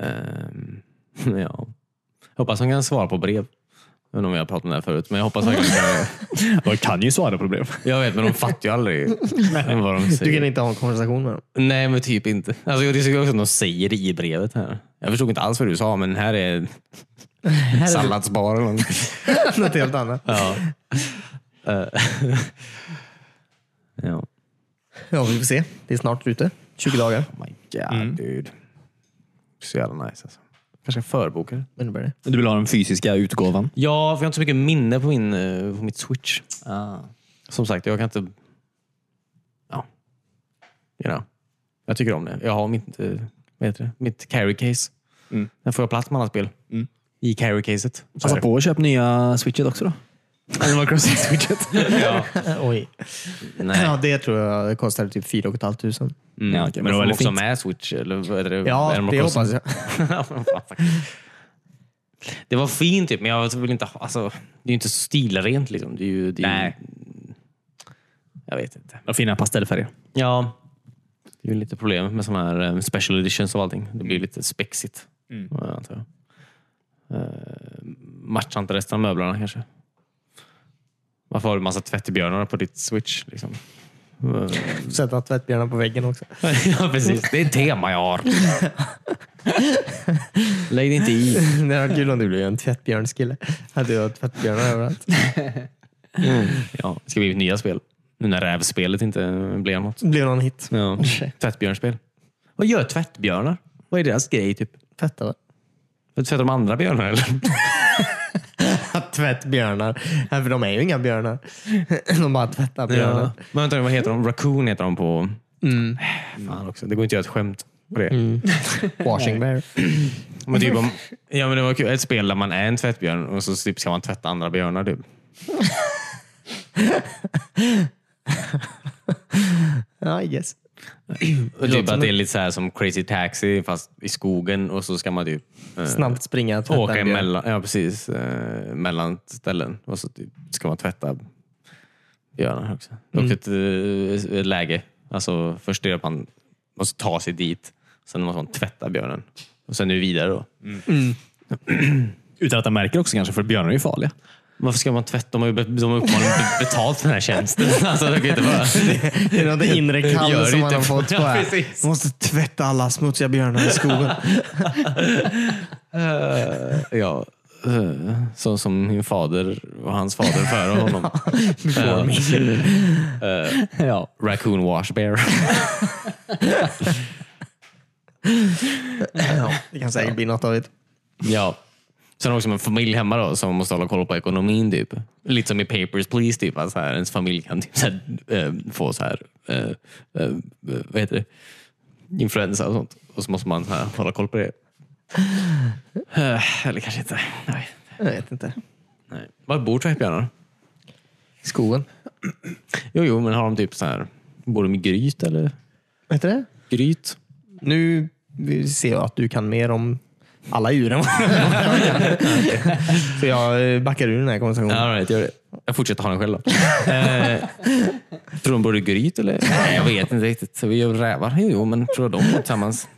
B: Ehm, ja. Jag hoppas hon kan svara på brev. Jag vet inte om jag har pratat om det här förut, men jag hoppas verkligen att
A: De kan ju svara på problem.
B: Jag vet, men de fattar ju aldrig vad de säger.
C: Du kan inte ha en konversation med dem.
B: Nej, men typ inte. Alltså, det är också att de säger i brevet här. Jag förstod inte alls vad du sa, men här är
C: Här är
B: salladsbar eller något.
C: det (laughs) något helt annat.
B: Ja. (laughs) Eh, (laughs) ja.
C: Ja, vi får se. Det är snart ute. 20 dagar.
B: Oh my god, dude. Så jävla nice alltså. Kanske en förbokare.
C: Men det börjar det.
A: Du vill ha den fysiska utgåvan?
B: Ja, för jag har inte så mycket minne på, min, eh, på mitt switch. Ah. Som sagt, jag kan inte... Ja. You know. Jag tycker om det. Jag har mitt, eh, vad heter det? mitt carry case.
A: Mm.
B: Där får jag plats med alla spel. I carry caset. Så (laughs)
A: Passa
B: här.
A: på att köpa nya switchet också då. Animal Crossing switchet.
B: Ja.
C: Oj.
B: Nej.
C: Ja, det tror jag kostade typ 4 500.
B: Mm.
A: Ja, okej, men
B: men
A: det
B: då
A: var
B: får man också
A: liksom- väldigt fint.
B: med Switch? Eller vad är det?
C: Ja,
B: Animal
C: det
B: Crossing?
C: hoppas jag.
B: (laughs) Ja, men fan, fuck. det var fint, typ, men jag vill inte ha... Alltså, det är ju inte så stilrent. Liksom. Det är ju, det är
A: Nej.
B: Ju, jag vet inte.
A: Och fina pastellfärger.
B: Ja. Det är ju lite problem med sådana här eh, special editions och allting. Det blir lite spexigt.
A: Mm.
B: eh, Antar jag. Eh, matchar inte resten av möblerna kanske. Varför har du massa tvättbjörnar på ditt switch? Liksom? Eh,
C: (laughs) Sätta tvättbjörnar på väggen också.
B: (laughs) ja, precis. Det är ett tema jag har. Lägg det inte i.
C: (laughs) Det hade varit kul om du blev en tvättbjörnskille. Hade jag tvättbjörnar överallt.
B: Ja, det ska bli nya spel. Nu när rävspelet inte blev något.
C: Blev någon hit.
B: Ja. Tvättbjörnspel. Vad gör tvättbjörnar? Vad är deras grej? typ?
C: Tvätta va? (laughs)
B: Tvättar de andra björnar eller?
C: Tvättbjörnar. Nej, för de är ju inga björnar. (laughs) De bara
B: (laughs)
C: tvättar björnar.
B: Men vänta, vad heter de? Raccoon heter de på... Mm. Fan också, det går inte att göra ett skämt på det.
C: Washing bear.
B: Men typ om, ja, men det var kul. Ett spel där man är en tvättbjörn och så typ ska man tvätta andra björnar. Typ.
C: Ja, yes.
B: Och
C: Låter
B: typ
C: som
B: att det är lite så här som Crazy Taxi fast i skogen och så ska man typ... eh,
C: Snabbt springa och tvätta
B: åka
C: en björn.
B: emellan, ja, precis, eh, mellan ställen och så typ ska man tvätta björnar också. Det är
C: Mm.
B: också ett eh, läge. Alltså, först är det att man måste ta sig dit, sen måste man tvätta björnen och sen är vi vidare. Då.
A: Utan att jag märker också kanske, för björnar är ju farliga.
B: Varför ska man tvätta? De har ju be- de har uppenbarligen be- betalt för den här (laughs) tjänsten. Alltså, de kan ju inte bara...
C: (laughs) Det är något inre
B: Gör
C: kall som man
B: inte-
C: har
B: (laughs)
C: fått.
B: Ja,
C: på här.
B: precis.
C: Jag måste tvätta alla smutsiga björnar
B: (laughs)
C: i skogen.
B: ja, eh, så som min fader och hans fader före
C: (laughs)
B: honom. Eh,
C: Before me.
B: ja. Raccoon Wash Bear.
C: Ja, det kan säkert bli något av det.
B: Ja. Sen också en familj hemma då som måste hålla koll på ekonomin. Typ. Lite som i Papers, Please. Typ, att så här, ens familj kan typ, så här, eh, få så här, eh, eh, vad heter det? influensa och sånt. Och så måste man så här, hålla koll på det. Eh, Eller kanske inte. Nej.
C: Jag vet inte.
B: Nej. Var bor tvättbjörnar?
C: Skogen.
B: Jo, jo, men har de typ så här... Bor de i gryt eller?
C: Vet du det?
B: Gryt?
C: Nu ser jag att du kan mer om alla djuren. (laughs) Så jag eh, backar ur den här konversationen.
B: All right, gör det. Mm. Jag fortsätter ha den själv (laughs) då. eh, tror de bor i gryt eller? Nej, jag vet inte riktigt. Så vi gör rävar. Jo, Jo, men tror de bor tillsammans?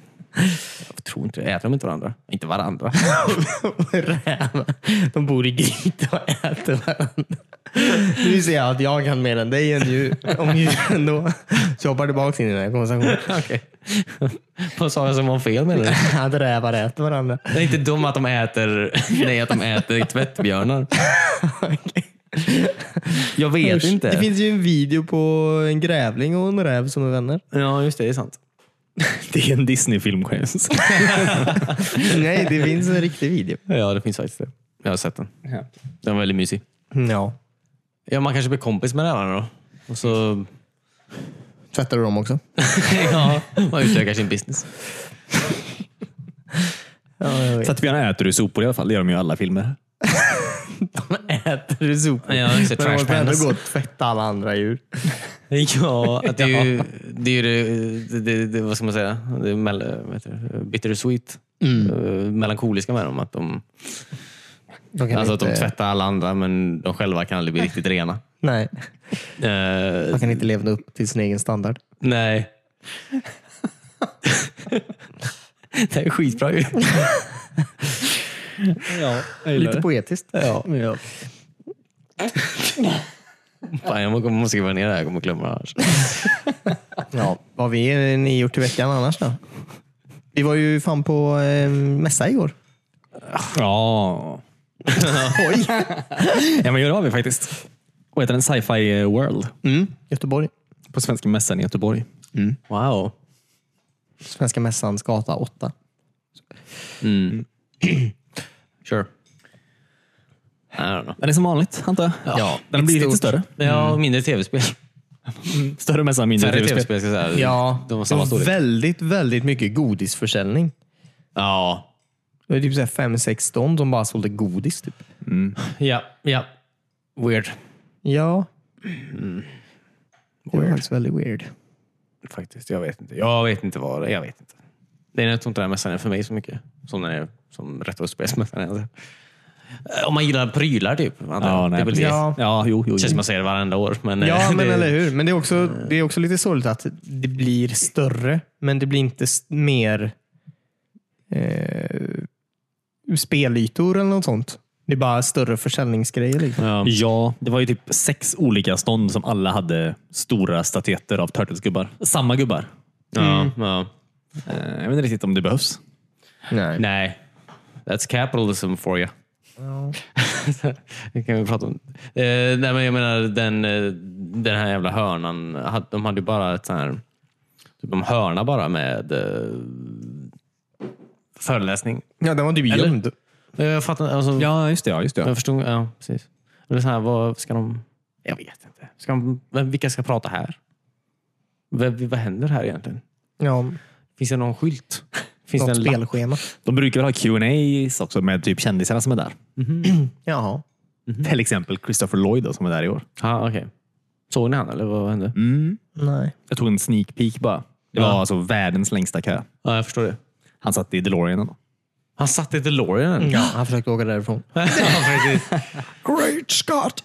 B: Jag tror inte det. Äter de inte varandra? Inte (laughs) varandra.
C: Rävar. De bor i gryt och äter varandra. Nu ser jag att jag kan mer än dig än djur, om djuren då. Så jag hoppar tillbaka in i den här
B: (laughs)
C: konversationen.
B: Okej. Vad sa jag som var fel med det?
C: Att rävar äter varandra.
B: Det är inte dumt att de äter, nej, att de äter (laughs) tvättbjörnar. Jag vet inte.
C: Det finns ju en video på en grävling och en räv som
B: (laughs)
C: är vänner.
B: Ja, just det. Det är sant.
A: (laughs) Det är en Disney-film. kan jag säga.
C: Nej, det finns en riktig video.
B: Ja, det finns faktiskt det. Jag har sett den. Den var väldigt mysig.
C: Ja.
B: Ja, man kanske blir kompis med varandra då. Och så
C: Tvättar du dem också?
B: (laughs) ja, (laughs) man utökar sin business.
C: Ja, jag vet.
A: Tvättbjörnar äter du sopor i alla fall. Det gör de ju i alla filmer.
C: Äter du sopor?
B: Ja, just det,
C: Men
B: trash
C: man får ändå
B: pandas.
C: gå och tvätta alla andra djur.
B: Ja, att (laughs) det är ju det, är ju det, det, det vad ska man säga, det är mel, vad heter det, bittersweet. Eh, Melankoliska med dem. Att de,
C: De kan
B: alltså att de
C: inte-
B: tvättar alla andra men de själva kan (laughs) aldrig bli riktigt rena.
C: Nej,
B: Eh,
C: man kan inte leva upp till sin egen standard.
B: nej. (laughs) det här är skitbra (laughs) ju.
A: Ja,
C: Lite poetiskt.
B: Ja. Fan, jag må- måste skriva ner det här, jag kommer glömma det annars.
C: Ja, vad har vi ni gjort i veckan annars då? Vi var ju fan på eh, mässa igår.
A: Ja.
C: (laughs) Oj!
A: ja, men gör det har vi faktiskt. Vad heter den? Sci-Fi eh, World.
C: Mm, Göteborg.
A: På Svenska Mässan i Göteborg.
B: Wow.
C: Svenska mässans gata 8.
B: Mm. (clears throat) Sure. I don't know.
A: Den är som vanligt, antar jag.
B: Ja,
A: Den blir lite
C: stort.
A: större.
B: Ja, mindre tv-spel.
A: Större mässa, mindre
B: Färre
A: tv-spel.
B: tv-spel ska jag säga. De var samma
C: det var
B: storlek.
C: väldigt, väldigt mycket godisförsäljning.
B: Ja.
C: Det var typ så här fem, sex stånd som bara sålde godis. Typ.
B: ja, ja. Weird.
C: Ja. Mm. Det var faktiskt väldigt weird.
B: Faktiskt, jag vet inte. Jag vet inte vad det är. Jag vet inte. Det är nog inte den här mässan är för mig så mycket. Som den är som retrospelsmässan. är. Eh, Om man gillar prylar typ. antar jag.
A: Ja, nej,
B: det är väl det.
A: precis.
C: Ja.
A: Ja, jo, jo,
B: Det känns som
A: jo.
B: man säger det varenda år. Men,
C: Ja,
B: eh,
C: men
B: det,
C: eller hur. Men det är, också, det är också lite sorgligt att det blir större, men det blir inte s- mer eh, spelytor eller något sånt. Det är bara större försäljningsgrejer. Liksom.
B: Ja.
A: Ja, det var ju typ sex olika stånd som alla hade stora statyetter av Turtles-gubbar. Samma gubbar.
B: Ja,
C: Mm.
B: ja.
A: Eh, Jag vet inte riktigt om det behövs.
C: Nej.
B: Nej. That's capitalism for you. (laughs) det kan vi prata om. Eh, nej, men jag menar den, eh, den här jävla hörnan. hade- De hade ju bara ett sån här... Typ de hörna bara med eh, föreläsning.
C: Ja, den var typ
B: Eller-
C: gömd.
B: Eh, Jag fattar alltså,
A: Ja, just det. Ja, just det.
B: Jag förstod. Ja, precis. Eller så här, vad ska de... Jag vet inte. Ska de, vem- vilka ska prata här? Vad, vad händer här egentligen?
C: Ja,
B: Finns det någon skylt? Finns
C: något
B: det en lapp?
C: spelschema.
A: De brukar väl ha Q&As också med typ kändisarna som är där.
C: Jaha.
A: Till exempel Christopher Lloyd då, som är där i år.
B: Ah, okay. Såg ni han eller vad hände?
C: Nej.
A: Jag tog en sneak peek bara. Det var alltså världens längsta kö.
B: Ja, jag förstår det.
A: Han satt i DeLorean.
B: Han satt i DeLorean. (laughs)
C: Ja, han försökte åka därifrån.
A: Great Scott!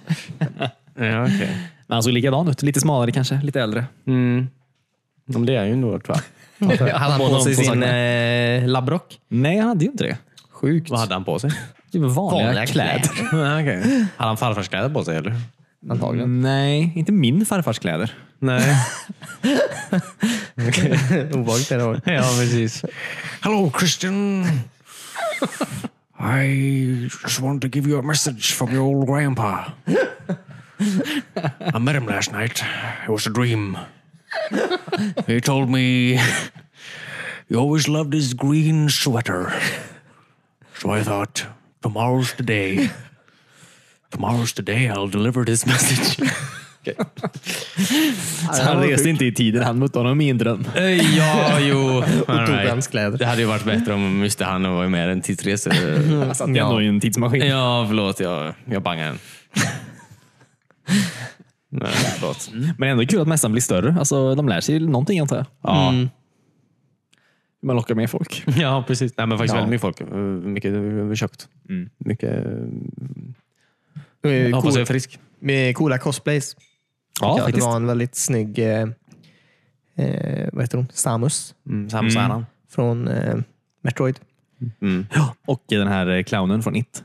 B: Ja, okej.
A: Men han såg likadan ut. Lite smalare kanske, lite äldre.
B: Men det är ju något va?
C: Hade han
A: båda
C: på sig
A: de två
C: sin
A: sakerna.
C: eh, labbrock?
A: Nej, han hade ju inte det.
C: Sjukt.
B: Vad hade han på sig?
A: Det var vanliga,
C: Vanliga
A: kläder.
B: Ja, okej. (laughs) Hade han farfarskläder på sig eller?
C: Antagligen.
A: Nej, inte min farfars kläder.
B: Nej.
C: Obehagligt är det. varit.
B: (laughs) ja, precis. Hello Christian! I just wanted to give you a message from your old grandpa. I met him last night. It was a dream. He told me he always loved his green sweater. So I thought, Tomorrow's the day. Tomorrow's the day I'll deliver this message.
A: Så han reste inte i tiden. Han mötte honom i en dröm.
B: Eh, ja, (laughs) jo. All
C: tog
B: right.
C: hans kläder.
B: Det hade ju varit bättre om just det, han var med i en tidsresa. (laughs)
A: Han satt ju ändå i en tidsmaskin.
B: ja, förlåt. Jag, jag bangar (laughs) en. Nej, förlåt.
A: Men ändå kul att mässan blir större. Alltså, de lär sig någonting antar jag.
B: Ja.
A: Hur man lockar med folk.
B: ja, precis. Nej, men faktiskt
A: Ja.
B: väldigt mycket folk. Eh, Mycket eh, köpt. Mycket... eh, (laughs)
C: Eh,
B: Jag hoppas
C: cool-
B: jag är frisk.
C: Med coola cosplays.
A: Ja,
C: det
A: faktiskt.
C: var en väldigt snygg, eh, eh, vad heter hon? Samus
B: Mm, Samus
A: Mm.
B: Aran.
C: från eh, Metroid.
B: Mm.
A: Och den här eh, clownen från It.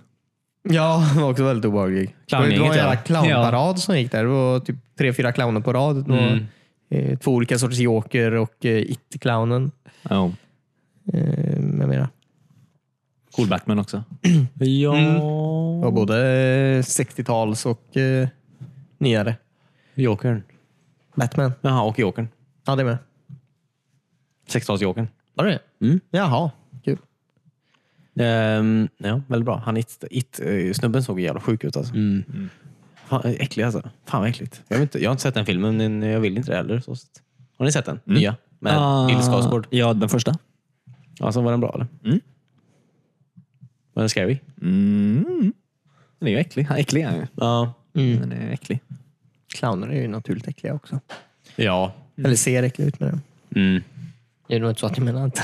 C: Ja, (laughs) hon var också väldigt obehaglig.
B: Clowngänget,
C: det var en jävla
B: ja.
C: clownparad som gick där. Det var typ tre, fyra clowner på rad. Det var,
B: Mm.
C: eh, två olika sorters joker och eh, it-clownen
A: Ja.
C: eh, med mera.
A: Cool Batman också.
B: Ja.
C: Det var både eh, 60-tals och eh, nyare.
B: Jokern.
C: Batman.
B: Jaha, och Jokern.
C: Ja, det med.
B: 60-talsjokern.
C: Var det
B: Mm.
C: Jaha, kul.
B: Ehm, ja, väldigt bra. Han it, it, eh, snubben såg jävla sjuk ut alltså. Mm. Fan, eh, äcklig alltså. Fan vad äckligt. Jag, vet inte, jag har inte sett den filmen, men jag vill inte det heller. Så. sett. Har ni sett den? Nya? Med Bill Skarsgård.
A: Ja, den första.
B: Alltså, var den bra eller?
A: Mm.
B: Var den scary?
A: Mm. Den är ju äcklig. Han är äcklig. Han.
B: Ja.
C: Mm.
A: Den är äcklig.
C: Clowner är ju naturligt äckliga också.
B: Ja.
C: Eller ser äckliga ut med det.
B: Mm.
C: Det är nog inte så att jag menar att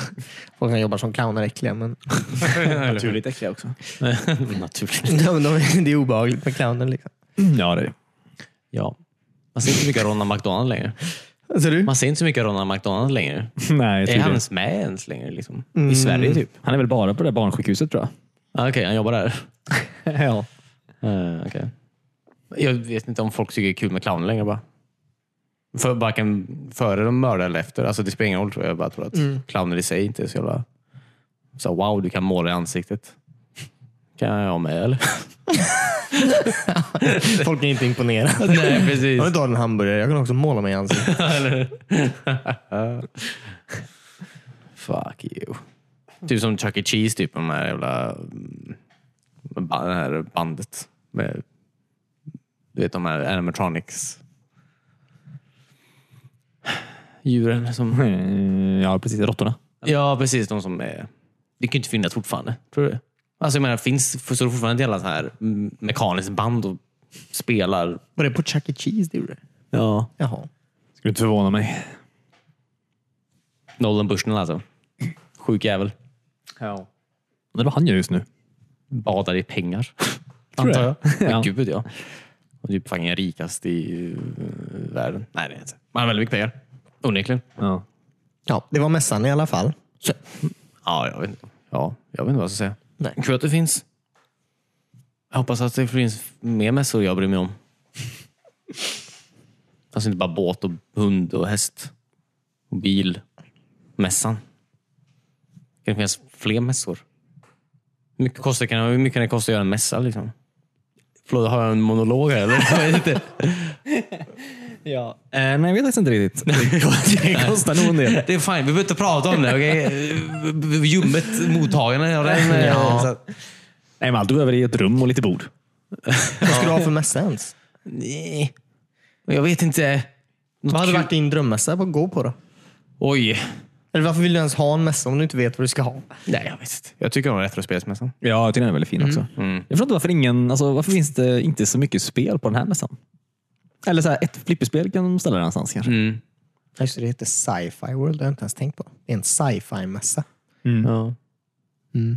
C: folk som jobbar som clowner är äckliga, (laughs) men
A: Naturligt äcklig också.
B: (laughs) Naturligt.
C: de, de, det är obehagligt med clowner. (laughs) Liksom.
A: Mm, Ja, det är det.
B: Ja. Man ser inte så mycket Ronald McDonald längre.
C: Alltså, du?
B: Man ser inte så mycket Ronald McDonald längre.
A: (laughs) Nej, jag
B: Är
A: tror
B: han
A: han...
B: ens med ens längre? Liksom? I Sverige typ?
A: han är väl bara på det där barnsjukhuset tror jag.
B: Ah, Okej, han jobbar där.
A: (laughs) ja.
B: Uh, Jag vet inte om folk tycker det är kul med clowner längre. Bara. För, varken före de mördar eller efter. Alltså, det spelar ingen roll tror jag. Jag bara tror att clowner i sig inte är så jävla... Så, här, wow, du kan måla i ansiktet. Kan jag med eller?
C: Folk är inte imponerade.
B: (laughs) Nej, precis.
C: Jag vill inte ha en hamburgare. Jag kan också måla mig i ansiktet.
B: Fuck you. Typ som Chuck E. Cheese, typ de här jävla... mm, ba- Det här bandet med... Du vet de här animatronics. Djuren som...
A: Eh, Ja, precis. Råttorna.
B: Ja, precis. De som är... Det kan ju inte finnas fortfarande. Tror du Alltså jag menar, finns för- står det fortfarande ett jävla så här mm, mekaniskt band och spelar?
C: Var det på Chuck E. Cheese du gjorde?
B: Ja.
C: (laughs) Jaha.
A: Skulle inte förvåna mig.
B: Nolan Bushnell alltså. Sjuk jävel.
A: Ja. Det är vad han gör just nu.
B: Badar i
C: (laughs)
B: pengar.
A: Tror
B: Antar jag.
A: jag. Ja.
B: Men gud ja. Och typ fucking rikast i eh, världen. Nej, det är inte. Man har väldigt mycket pengar. Onekligen.
A: Ja.
C: Ja, det var mässan i alla fall. Så,
B: Ja, jag vet inte. Ja, jag vet inte vad jag ska säga.
C: Nej.
B: Kul att det finns. Jag hoppas att det finns mer mässor jag bryr mig om. Alltså inte bara båt och hund och häst. Och bil. Mässan. Kan det finnas fler mässor? Hur mycket, kostar, kan, hur mycket kan det kosta att göra en mässa? Liksom? Förlåt, har jag en monolog här eller? (laughs) Jag vet inte.
A: ja. Eh, nej, jag vet faktiskt inte (laughs) riktigt. det kostar nog en del.
B: Det är fine, vi behöver inte prata om det. Okay? (laughs) Ljummet mottagande. Ja, den,
C: Ja.
B: så att-
A: Nej, men allt du behöver är ett rum och lite bord.
C: vad ska du ha för mässa ens?
B: Nej. Men Jag vet inte. Något
C: Vad hade
B: kul-
C: varit din drömmässa att gå på då?
B: Oj.
C: Eller varför vill du ens ha en mässa om du inte vet vad du ska ha?
B: Nej, jag vet inte. Jag tycker om retrospelsmässan.
A: Ja, jag tycker den är väldigt
B: Mm.
A: fin också. Jag förstår inte varför, ingen, alltså, varför finns det inte så mycket spel på den här mässan? Eller så här, ett flipperspel kan de ställa någonstans kanske.
B: Mm.
C: Just det, det heter Sci-Fi World. Det har jag inte ens tänkt på. Det är en sci-fi mässa.
B: Ja.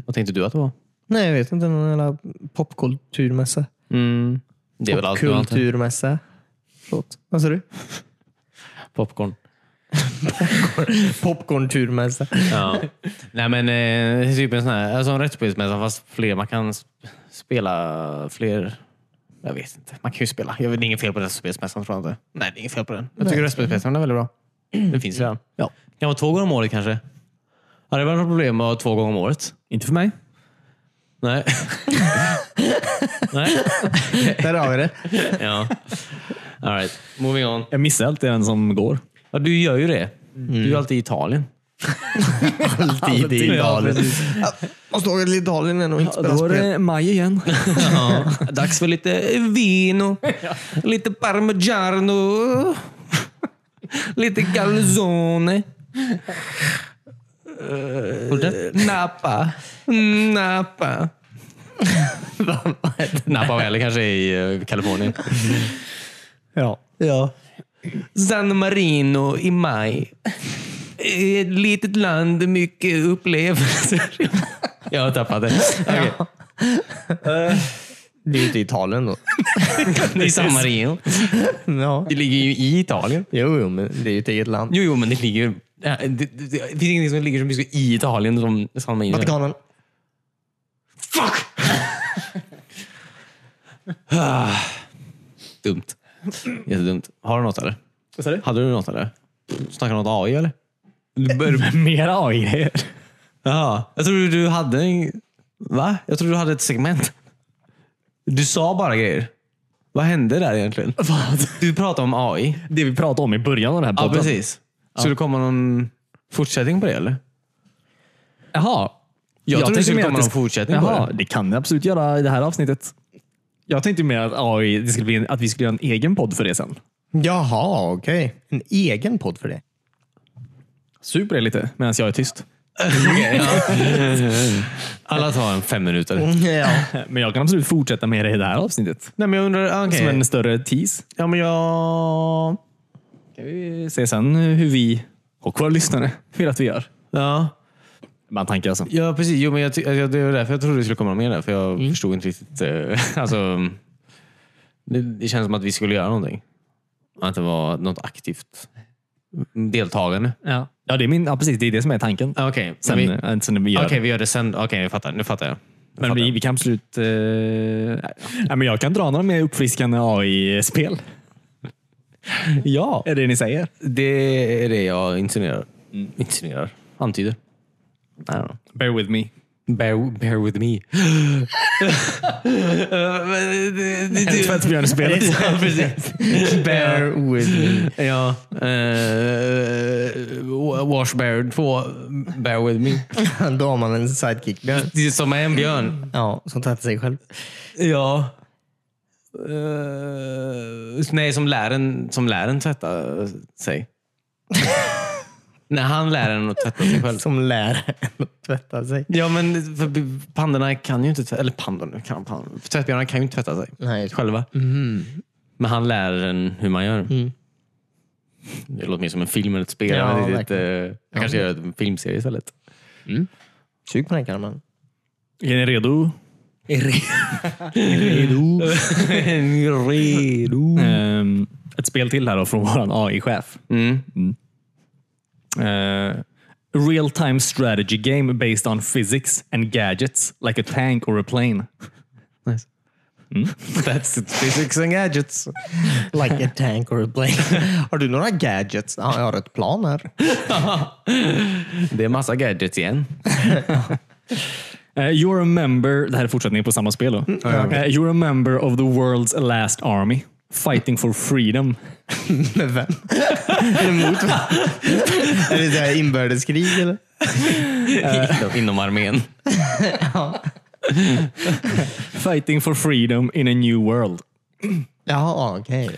B: Vad tänkte du att det var?
C: Nej, jag vet inte. Någon jävla popkulturmässa.
B: Mm. Det är väl allt du har antar jag.
C: Popkulturmässa. Förlåt. Vad (laughs) sa du?
B: Popcorn.
C: Popcornturmässa.
B: Ja. (laughs) Nej, men eh, det är typ en sån här alltså en retrospelsmässa fast fler. Man kan sp- spela fler. Jag vet inte. Man kan ju spela. Jag vet, det är inget fel på retrospelsmässan tror jag inte. Nej, det är inget fel på den. Jag tycker retrospelsmässan är väldigt bra. Den finns redan.
A: Ja.
B: Det kan vara två gånger om året kanske. Hade det varit något problem att ha två gånger om året?
A: Inte för mig.
B: Nej. Nej.
C: Där har vi det.
B: Ja. All right. Moving on.
A: Jag missar alltid den som går.
B: Ja, du gör ju det. Du är alltid i Italien.
C: Alltid i Dalen. Måste åka till Dalen än och inte spela spel.
B: maj igen. ja, dags för lite
C: (laughs)
B: vino, lite parmigiano, lite calzone. Eh, Napa. Napa. (laughs) Napa Valley kanske är i eh, Kalifornien.
C: Ja.
B: Ja. San Marino i maj. Ett litet land, mycket upplevelser. Jag har tappat
A: (laughs)
B: det. Okej.
C: (laughs) Det är ju inte Italien då.
B: Det är San Marino.
C: ja.
B: Det ligger ju i Italien.
C: Jo, jo, men det är ju ett eget land.
B: Jo, jo men det ligger ju... Det, det, det finns ingenting som ligger så mycket i Italien som San Marino.
C: Vatikanen.
B: Fuck! Ah, Dumt. Jättedumt. Har du något eller?
A: Vad sa du?
B: Hade du något eller? Snackar du något AI eller? Du bör...
A: Mera AI-grejer.
B: Jaha. Jag tror du hade... en- Va? Jag tror du hade ett segment. Du sa bara grejer. Vad hände där egentligen? Du pratade om AI.
A: (laughs) Det vi pratade om i början av den här
B: Ja,
A: podden.
B: precis. Skulle det komma någon fortsättning på det eller?
A: Jaha.
B: Jag, trodde det skulle komma
A: det
B: någon
A: sk-
B: fortsättning på
A: Jaha,
B: det.
A: det kan det absolut göra i det här avsnittet. Jag tänkte mer att, AI, det skulle bli en, att vi skulle göra en egen podd för det sen.
C: Jaha, okej. En egen podd för det.
A: Super det lite, medan jag är tyst.
B: Alla tar en fem minuter.
C: (laughs) Ja.
A: Men jag kan absolut fortsätta med det i det här avsnittet.
B: Nej, men jag undrar... ah,
A: Som
B: Okej.
A: en större tease.
B: Ja, men jag...
A: kan vi se sen hur vi och våra lyssnare vill att vi gör.
B: Ja,
A: Bara en tanke alltså.
B: ja precis. Jo, men jag, ty- jag, det var därför jag trodde det skulle komma mer där. För jag förstod inte riktigt. Eh, (laughs) alltså, det, det känns som att vi skulle göra någonting. Att det var något aktivt deltagande.
A: Ja, ja det, är min, ja, precis, det är det som är tanken.
B: Ah, Okej,
A: Sen,
B: men vi-
A: eh, sen när vi gör
B: okej, vi gör det sen. Okej, jag fattar. Nu fattar jag. Nu
A: Men
B: fattar
A: vi,
B: jag.
A: vi kan absolut... Eh, nej, men jag kan dra några mer uppfriskande AI-spel. (laughs) ja, är det ni säger.
B: Det är det jag insinuerar. Insinuerar? Antyder. I don't know.
A: Bear with me.
B: Bear, bear with me.
A: Tvättbjörnspelet.
B: Ja, precis.
C: Bear with
B: (laughs)
C: me.
B: Mm. Ja. Uh, wash Bear 2, Bear with me.
C: Då har man en sidekick. Björn.
B: Det är som en björn.
C: Ja, som tvättar sig själv.
B: Ja. Eh, nej, som lär en, som lär en tvätta sig. (laughs) nej, han lär en att tvätta sig själv.
C: Som lär en att tvätta sig.
B: Ja, men för pandorna kan ju inte tvätta Eller pandorna kan, pandorna, tvättbjörnarna kan ju inte tvätta sig
C: Nej.
B: själva. Mhm. Men han lär en hur man gör. Det låter mer som en film än ett spel.
C: Ja,
B: jag vet inte,
C: verkligen.
B: eh, jag kanske gör en filmserie (laughs) istället.
C: Sug på den Kalman.
A: Är ni redo?
C: Redo.
B: Redo.
A: Ehm, ett spel till här då från (laughs) vår AI-chef.
B: Mm.
A: Eh, real time strategy game based on physics and gadgets like a tank or a plane.
B: That's it. Physics and gadgets.
C: Like a tank or a plane. (laughs) Har du några gadgets? Ja, jag har ett plan här.
B: Det är massa gadgets igen.
A: Eh, you're a member, det här är fortsättningen på samma spel då. Eh, you're a member of the world's last army. Fighting for freedom.
C: Med vem? Eller mot vem? Är det så här inbördeskrig eller?
B: Inom- Inom armén.
A: Fighting for freedom in a new world.
C: Jaha, okej.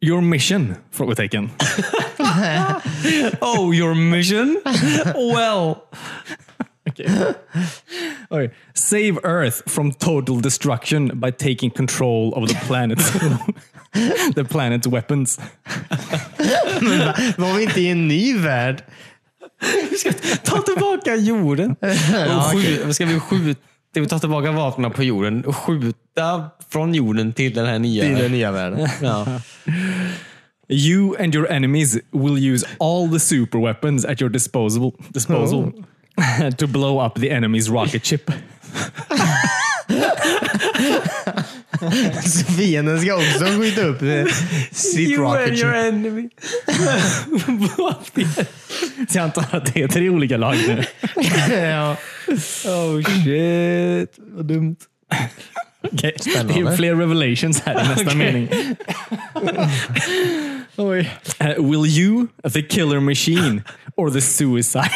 A: Your mission? Frågetecken.
B: Oh, your mission? (laughs) Well.
A: Oj. Save Earth from total destruction by taking control of the planet. the planet's weapons.
C: Var vi inte i en ny värld?
B: Ta tillbaka (laughs) jorden. Och skjuta, ska vi skjuta? Vi tar tillbaka vapnen på jorden och skjuta från jorden till den här nya.
C: I den nya världen.
B: (laughs) Ja.
A: You and your enemies will use all the super weapons at your disposal disposal (laughs) to blow up the enemy's rocket ship.
C: Så Fienden ska också skjuta upp eh, sitt rocket ship.
B: (laughs) enemy.
A: Så jag antar att det är tre olika lag nu.
C: (laughs) ja.
B: Oh shit, vad dumt.
A: Okay. Det är
B: (laughs)
C: Spännande.
A: fler revelations här i nästa mening.
C: Oj.
B: Eh, will you, the killer machine, or the suicide?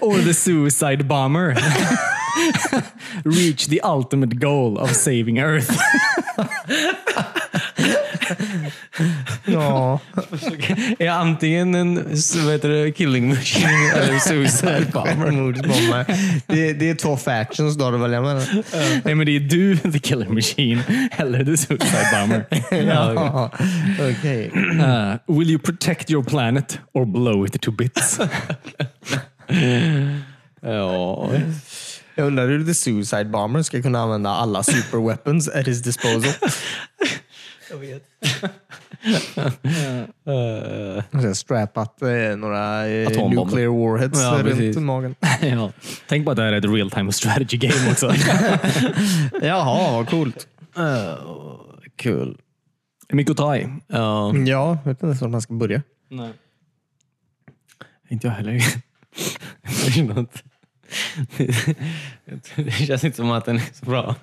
B: or the suicide bomber reach the ultimate goal of saving Earth?
C: Ja.
B: är antingen en så vad heter det, killing (laughs) machine eller suicide bomber.
C: Självmordsbombare. Det, det är två factions då du väljer mellan.
B: Nej, men det är du, the killer machine, eller the suicide bomber.
C: (laughs) Ja. Okej.
B: Uh, will you protect your planet or blow it to bits? ja,
C: Jag undrar hur The Suicide Bomber ska kunna använda alla superweapons at his disposal. (laughs) Och sen strappat eh, några eh,
B: Atombomber.
C: nuclear warheads
B: Ja,
C: runt
B: precis.
C: magen.
B: ja. Tänk bara att det här är ett real time strategy game också.
C: (laughs) Jaha, vad coolt.
B: Kul. Mycket att ta i. Ja.
C: Ja, jag vet inte ens var man ska börja.
B: Inte jag heller. (laughs) Det är något- (laughs) det känns inte som att den är så bra.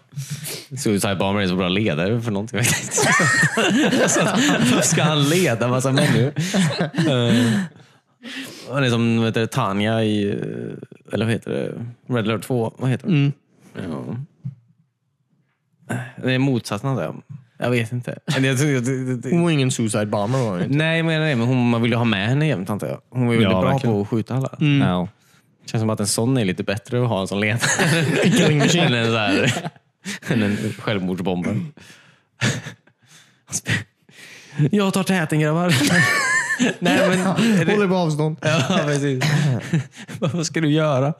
B: Suicide Bomber är så bra ledare för någonting. Jag vet (laughs) inte. Så att- Varför ska han leda massa människor? Eh, Han är som vad heter det, Tanja i eh, eller vad heter det? Red Alert 2. Vad heter det? Ja. Det är motsatsen av det. Jag vet inte. Men jag tycker- det- det- det-
C: Hon var ingen Suicide Bomber var hon ju inte.
B: Nej, men, nej, men hon, man vill ju ha med henne jämt antar jag. Hon var ju
A: Ja,
B: väldigt bra
A: verkligen.
B: på att skjuta alla.
A: Mm.
B: Känns som att en sån är lite bättre att ha en sån ledare. (laughs) än en, så här, än en självmordsbombare. Jag tar täten grabbar. nej, men,
C: (laughs)
B: är det,
C: Håller på avstånd.
B: ja, precis. (laughs) Vad ska du göra?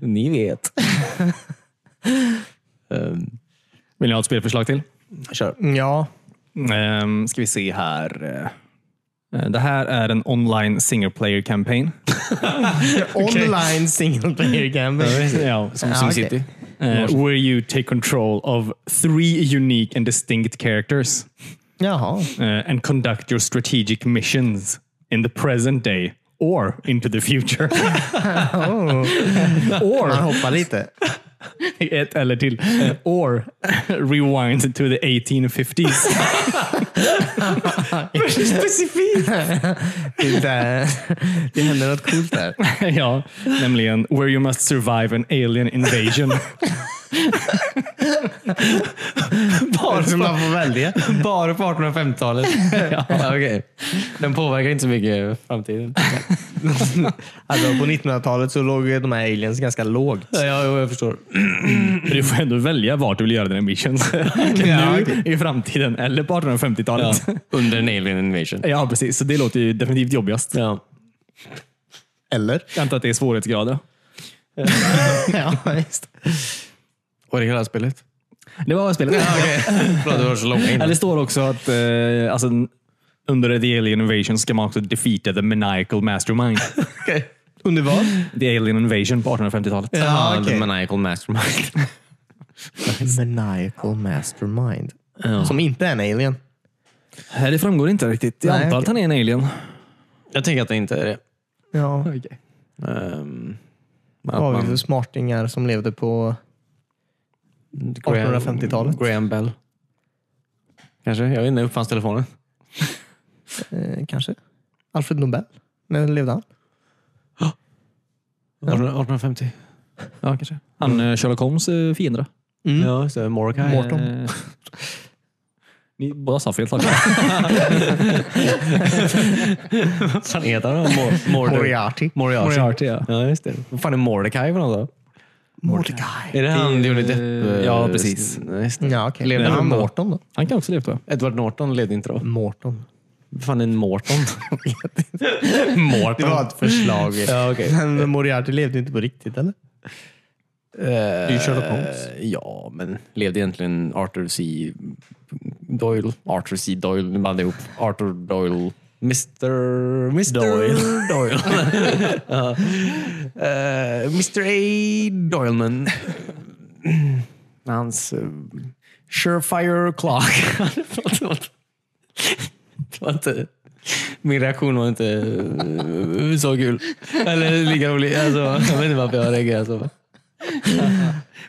B: Ni vet. um,
A: Vill ni ha ett spelförslag till?
B: kör.
C: (laughs) Ja.
A: Um, ska vi se här. Eh, Det här är en online single player campaign.
C: Online single player campaign.
A: (laughs) ja,
B: Som
C: Ja,
B: SimCity.
A: Eh, where you take control of three unique and distinct characters
C: Jaha.
A: eh, and conduct your strategic missions in the present day or into the future. (laughs)
C: Man hoppar lite.
A: Ett eller till. Eh, Or (laughs) rewind to the 1850s.
C: Specifikt! det, där, det händer något coolt där.
A: (laughs) ja, nämligen where you must survive an alien invasion.
B: Bara
C: Så man får välja.
B: Bara på 1850-talet. (laughs) ja. okej. Den påverkar inte så mycket framtiden.
C: Alltså, på 1900-talet så låg ju de här aliens ganska lågt.
B: Ja, jag, jag förstår.
A: Men du får ändå välja vart du vill göra dina (laughs) missions. nu, i framtiden eller på 1850-talet. (laughs) Ja.
B: Under en alien invasion.
A: precis. Så det låter ju definitivt jobbigast.
B: Ja.
C: Eller?
A: Jag antar att det är svårighetsgrader.
C: (laughs) ja, visst.
B: Var det hela spelet?
A: Det var spelet.
B: Förlåt, det var så långa
A: Ja,
B: innan.
A: det står också att eh, alltså, under The Alien Invasion ska man också defeata the maniacal (laughs) mastermind.
C: Under vad?
A: the Alien Invasion på 1850-talet.
C: Ja,
B: Ja,
C: okej.
B: The Maniacal Mastermind.
C: Maniacal Mastermind. Som inte är en alien.
A: Här Det framgår inte riktigt. Jag
C: Nej,
A: antar
C: okej.
A: att han är en alien.
B: jag tänker att det inte är det.
C: Ja.
B: Ehm,
C: Vad har
B: att
C: vi för smartingar som levde på...
B: Graham-
C: 1850-talet?
B: Graham Bell. Kanske. Jag vet inte. Uppfanns telefonen?
C: Eh, kanske? Alfred Nobel? När levde han?
B: 1850? Ja, kanske.
A: Han är Sherlock Holmes eh, fiende.
B: Ja, just det. Mordecai.
C: Morton.
A: Eh, Ni båda sa fel. tack.
B: Vad fan heter han? Mor- Morder-
C: Moriarty.
B: Moriarty.
A: (laughs) Moriarty, ja.
B: Ja, just det. Vad fan är Mordecai för något då?
C: Mordecai.
B: Är det han Johnny Depp? eh,
A: ja, precis.
B: s- nej, just det.
C: Ja, okej.
B: Levde
C: Men
B: han då?
C: Morton då?
A: Han kan också leva tror jag.
B: Edward Norton ledde inte då.
C: Morton.
B: Vad fan är en Morton? Morton?
C: Det var ett förslag.
B: Ja, okej.
C: Men Moriarty levde ju inte på riktigt, eller?
B: Det
C: är Sherlock Holmes.
B: Eh, Ja, men levde egentligen Arthur C. Doyle? Arthur C. Doyle, nu blandade jag ihop. Arthur Doyle. Mr... Mr. Doyle.
C: (laughs)
B: Ja. Eh, Mr. A. Doyleman. Hans uh, Surefire Clock. (laughs) Förlåt, förlåt. Det var inte... Min reaktion var inte eh, så kul. Eller lika rolig. Alltså, jag vet inte varför jag reagerade så.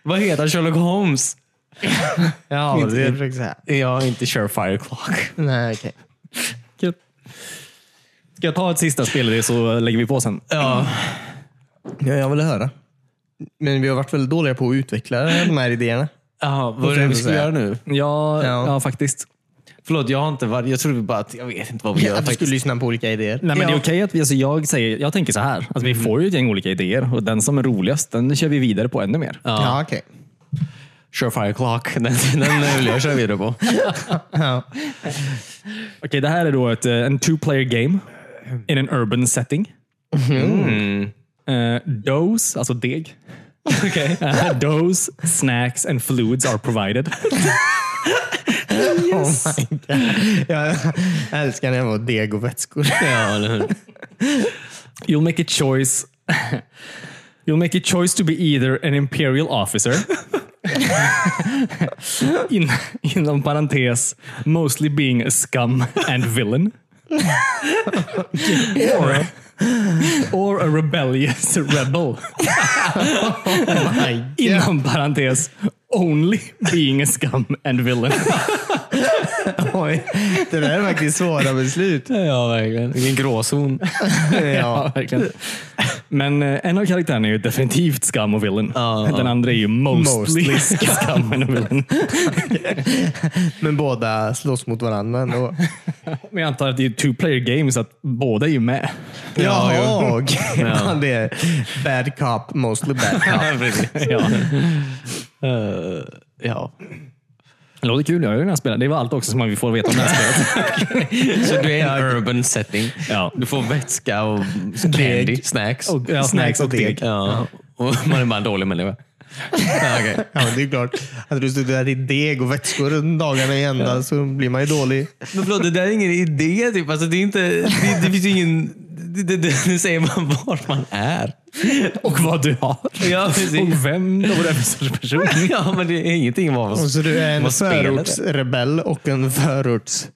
B: Vad heter Sherlock Holmes?
C: Ja, det var
B: Inte-
C: det jag försökte säga.
B: Ja, inte Surefire Clock.
C: Nej, okej.
A: Ska jag ta ett sista spel i det så lägger vi på sen?
B: Ja.
C: Ja, jag ville höra. Men vi har varit väldigt dåliga på att utveckla de här idéerna.
B: Jaha, vad är det vi skulle göra nu?
A: Ja,
C: Ja.
A: ja. faktiskt.
B: Förlåt, jag har inte varit... Jag trodde bara att... Jag vet inte vad vi gör
C: att vi
B: faktiskt.
C: skulle lyssna på olika idéer.
A: Nej, men Det
B: Ja.
A: är okej att vi, alltså jag, säger, jag tänker så här, att vi får ju ett gäng olika idéer och den som är roligast, den kör vi vidare på ännu mer.
C: Ja, ja okej.
B: Surefire Clock. (laughs) Den, den vill jag köra vidare på.
C: Ja.
A: Okej, det här är då ett, eh, en two-player game in an urban setting. Eh, doughs, alltså deg. (laughs) Okay. doughs, snacks and fluids are provided.
C: Oh my God. Jag älskar när (laughs) jag var deg och vätskor.
B: Ja,
C: (laughs)
B: eller hur?
A: You'll make a choice. (laughs) You'll make a choice to be either an imperial officer. (laughs) in, inom parentes, mostly being a scum
B: (laughs)
A: and villain. or, (laughs) or a rebellious rebel.
C: Nej.
A: Inom parentes, only being a scum and villain.
C: Oj. Det där är faktiskt svåra
A: (laughs)
C: beslut.
B: (laughs) ja, verkligen. Vilken (laughs) gråzon.
C: Ja.
A: verkligen. Men eh, en av karaktärerna är ju definitivt scum och villain.
B: Ja, ja.
A: Den andra är ju mostly,
C: Mostly
A: scum and villain.
C: Men båda slåss mot varandra ändå.
A: Men jag antar att det är two player games att båda är ju med.
B: Ja,
C: Jaha, okej. (laughs) Ja, det är bad cop, mostly bad cop.
A: ja.
B: Eh, ja.
A: Det låter kul. Jag har ju den här spelen. Det var allt också som man får veta om det här spelet.
B: Så du är en urban setting.
A: Ja.
B: Du får vätska och candy, snacks.
A: (laughs) Och, ja, snacks och deg.
B: Ja. Och man är bara en dålig människa. Ja, okej.
C: Ja, men det är klart. Hade du suttit där i deg och vätskor dagarna i ända så blir man ju dålig.
B: Men förlåt, det där är ingen idé. Typ. Alltså, det, är inte, det, det finns ju ingen... Det, det, det, nu säger man (laughs) vart man är.
A: Och vad du har.
B: Ja, precis.
A: Och vem och vad det är för sorts person.
B: Ja, men det är ingenting vad
C: Och så du är en
B: vad spelet är.
C: förortsrebell och en förorts...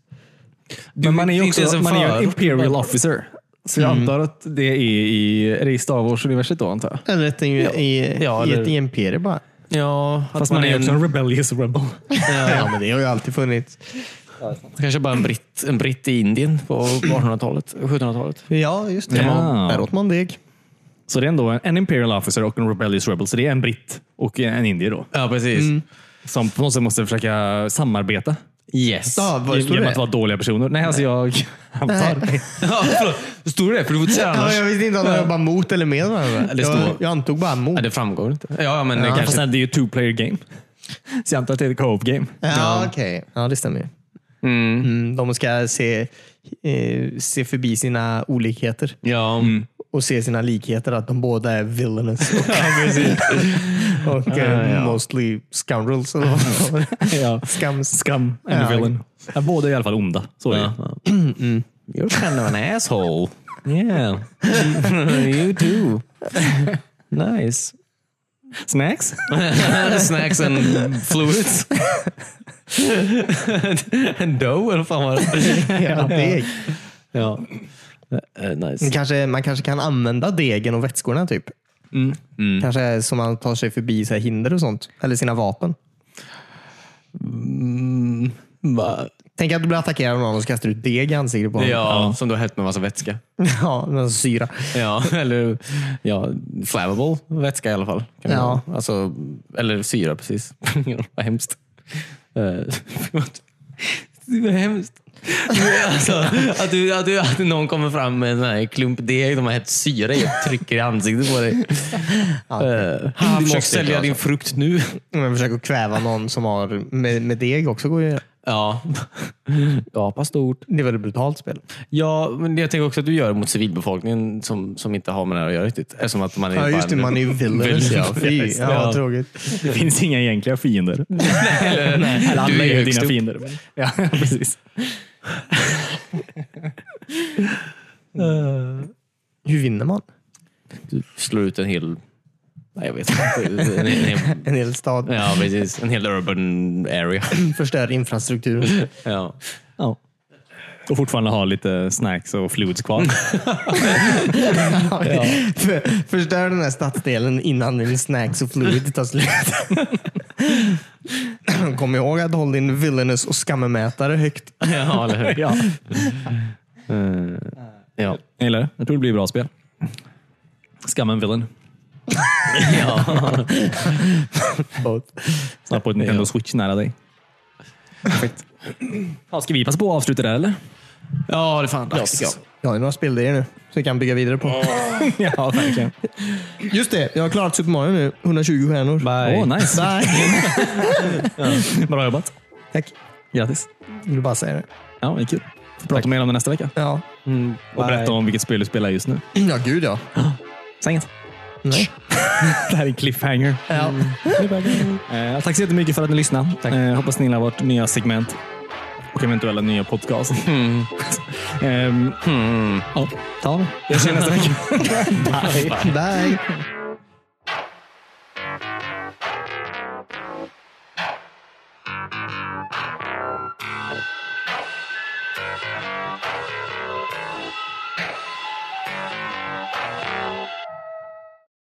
A: (laughs) Men man är ju
B: inte ens
A: också
B: en
A: man är ju
B: förort.
A: en Mm. imperial officer. Så jag antar att det är i, är det i Star Wars-universet då antar jag.
C: Eller ett, i, i,
B: Ja,
C: i ett
B: eller-
C: imperium bara.
B: Ja,
A: Fast man, är ju också en rebellious rebel.
C: Ja, men det har ju alltid funnits.
B: Kanske bara en britt, en britt i Indien på 1800-talet, 1700-talet.
C: Ja, just det.
A: Ja.
C: Där åt man deg.
A: Så det är ändå en, en imperial officer och en rebellious rebel. Så det är en britt och en indier då.
B: Ja, precis.
A: Som på något sätt måste försöka samarbeta.
B: Yes.
C: Ja, vad stod
A: Genom
C: det?
A: att vara dåliga personer. Nej, alltså jag (laughs) antar.
B: (laughs) Ja, förlåt. Stod det det? För du får inte säga
C: Ja,
B: annars.
C: jag visste inte om de jobbar mot eller med varandra.
B: det
C: Jag,
B: står-
C: jag antog bara mot.
B: Ja, det framgår inte. Ja, ja, men
A: Ja,
B: det
A: fast
B: kanske...
A: nej, det är ju two player game. Så jag antar att det är ett co-op game.
C: Ja, okej. Ja, det stämmer ju.
B: Mm.
C: Mm, de ska se, eh, se förbi sina olikheter
B: Ja, mm.
C: och se sina likheter. Att de båda är villainous
B: (laughs)
C: och, och eh,
B: ja.
C: mostly scoundrels. eller vad det var.
A: ja.
C: Skams.
A: Scum and
C: Ja.
A: villain. Ja, båda är i alla fall onda. Så är det.
B: ja. You're kind of an asshole. Yeah. (laughs) you too. Nice.
A: Snacks?
B: (laughs) Snacks and fluids. and dough, eller vad fan var det?
C: (laughs) Ja, deg.
B: ja. Eh, nice.
C: Men Kanske, man kanske kan använda degen och vätskorna typ.
B: Mm.
C: Kanske som man tar sig förbi så här hinder och sånt. Eller sina vapen.
B: Va?
C: Tänk att du blir attackerad av någon och så kastar du deg i ansiktet på
B: Ja,
C: honom.
B: som du har hällt med massa vätska.
C: (laughs) ja men syra. (laughs)
B: Ja, eller ja, flammable vätska i alla fall. Kan det
C: Ja.
B: vara. Alltså, eller syra precis. (laughs) Vad hemskt.
C: (laughs)
B: Eh, Det är hemskt. (laughs) Alltså, att, du, att, du, att någon kommer fram med en sån här klump deg de har hett syra i och trycker i ansiktet på dig.
C: Ja,
B: Eh, du försöker
C: måste
B: sälja
C: klara
B: din frukt nu.
C: Men försök att kväva någon som har med, med deg också. Går ju, (laughs)
B: Ja. Gapa stort.
C: det är väl ett brutalt spel?
B: Ja, men jag tänker också att du gör det mot civilbefolkningen som, som inte har med det här att göra riktigt. Eftersom att man är
C: Ja,
B: bara
C: just det.
B: en-
C: Man är ju villainous. (laughs) Ja, fy,
B: just det. (laughs)
C: ja,
B: Ja. typ.
C: vad tråkigt.
A: (laughs) Det finns inga egentliga fiender.
B: (laughs) Eller,
A: Eller
B: du
A: alla
B: är
A: är ju
B: högst
A: dina
B: upp.
A: fiender. men- Ja, (laughs) precis.
C: Hur vinner man?
B: Du slår ut en hel... Nej, jag vet inte. En, en, en,
C: En hel stad
B: ja, precis. En hel urban area.
C: förstör infrastrukturen.
B: Ja.
A: Ja. Och fortfarande ha lite snacks och fluids (laughs) kvar.
C: För, förstör den här stadsdelen innan din snacks och fluid tar slut. (laughs) Kom ihåg att hålla din villainous och skammätare högt.
B: ja, eller hur?
D: Ja.
B: Eh, ja.
D: Jag gillar det. Jag tror det blir bra spel. Skammen villain.
A: Snart på ett Nintendo Switch nära dig.
D: Ja, ska vi passa på att avsluta där
A: (laughs)
D: eller?
B: ja, det är fan dags. Ja,
C: Jag har ju några spelidéer nu som vi kan bygga vidare på.
D: ja, verkligen.
C: Just det, jag har klarat Super Mario nu. 120 stjärnor.
D: Åh, nice.
C: Bye.
D: Bra jobbat.
C: Tack.
D: Grattis.
C: Vill bara säga det.
D: Ja, men kul.
A: Får prata mer om det nästa vecka.
C: Ja.
A: Och berätta om vilket spel du spelar just nu.
C: Ja, gud ja.
D: Säg inget.
C: Nej.
A: (laughs) Det här är en cliffhanger.
C: Ja.
A: (laughs) Eh, tack så jättemycket för att ni lyssnade. Eh, hoppas ni gillar vårt nya segment och eventuella nya podcast. (laughs) Ehm, ja, ta det. Jag känner nästa vecka.
C: Bye.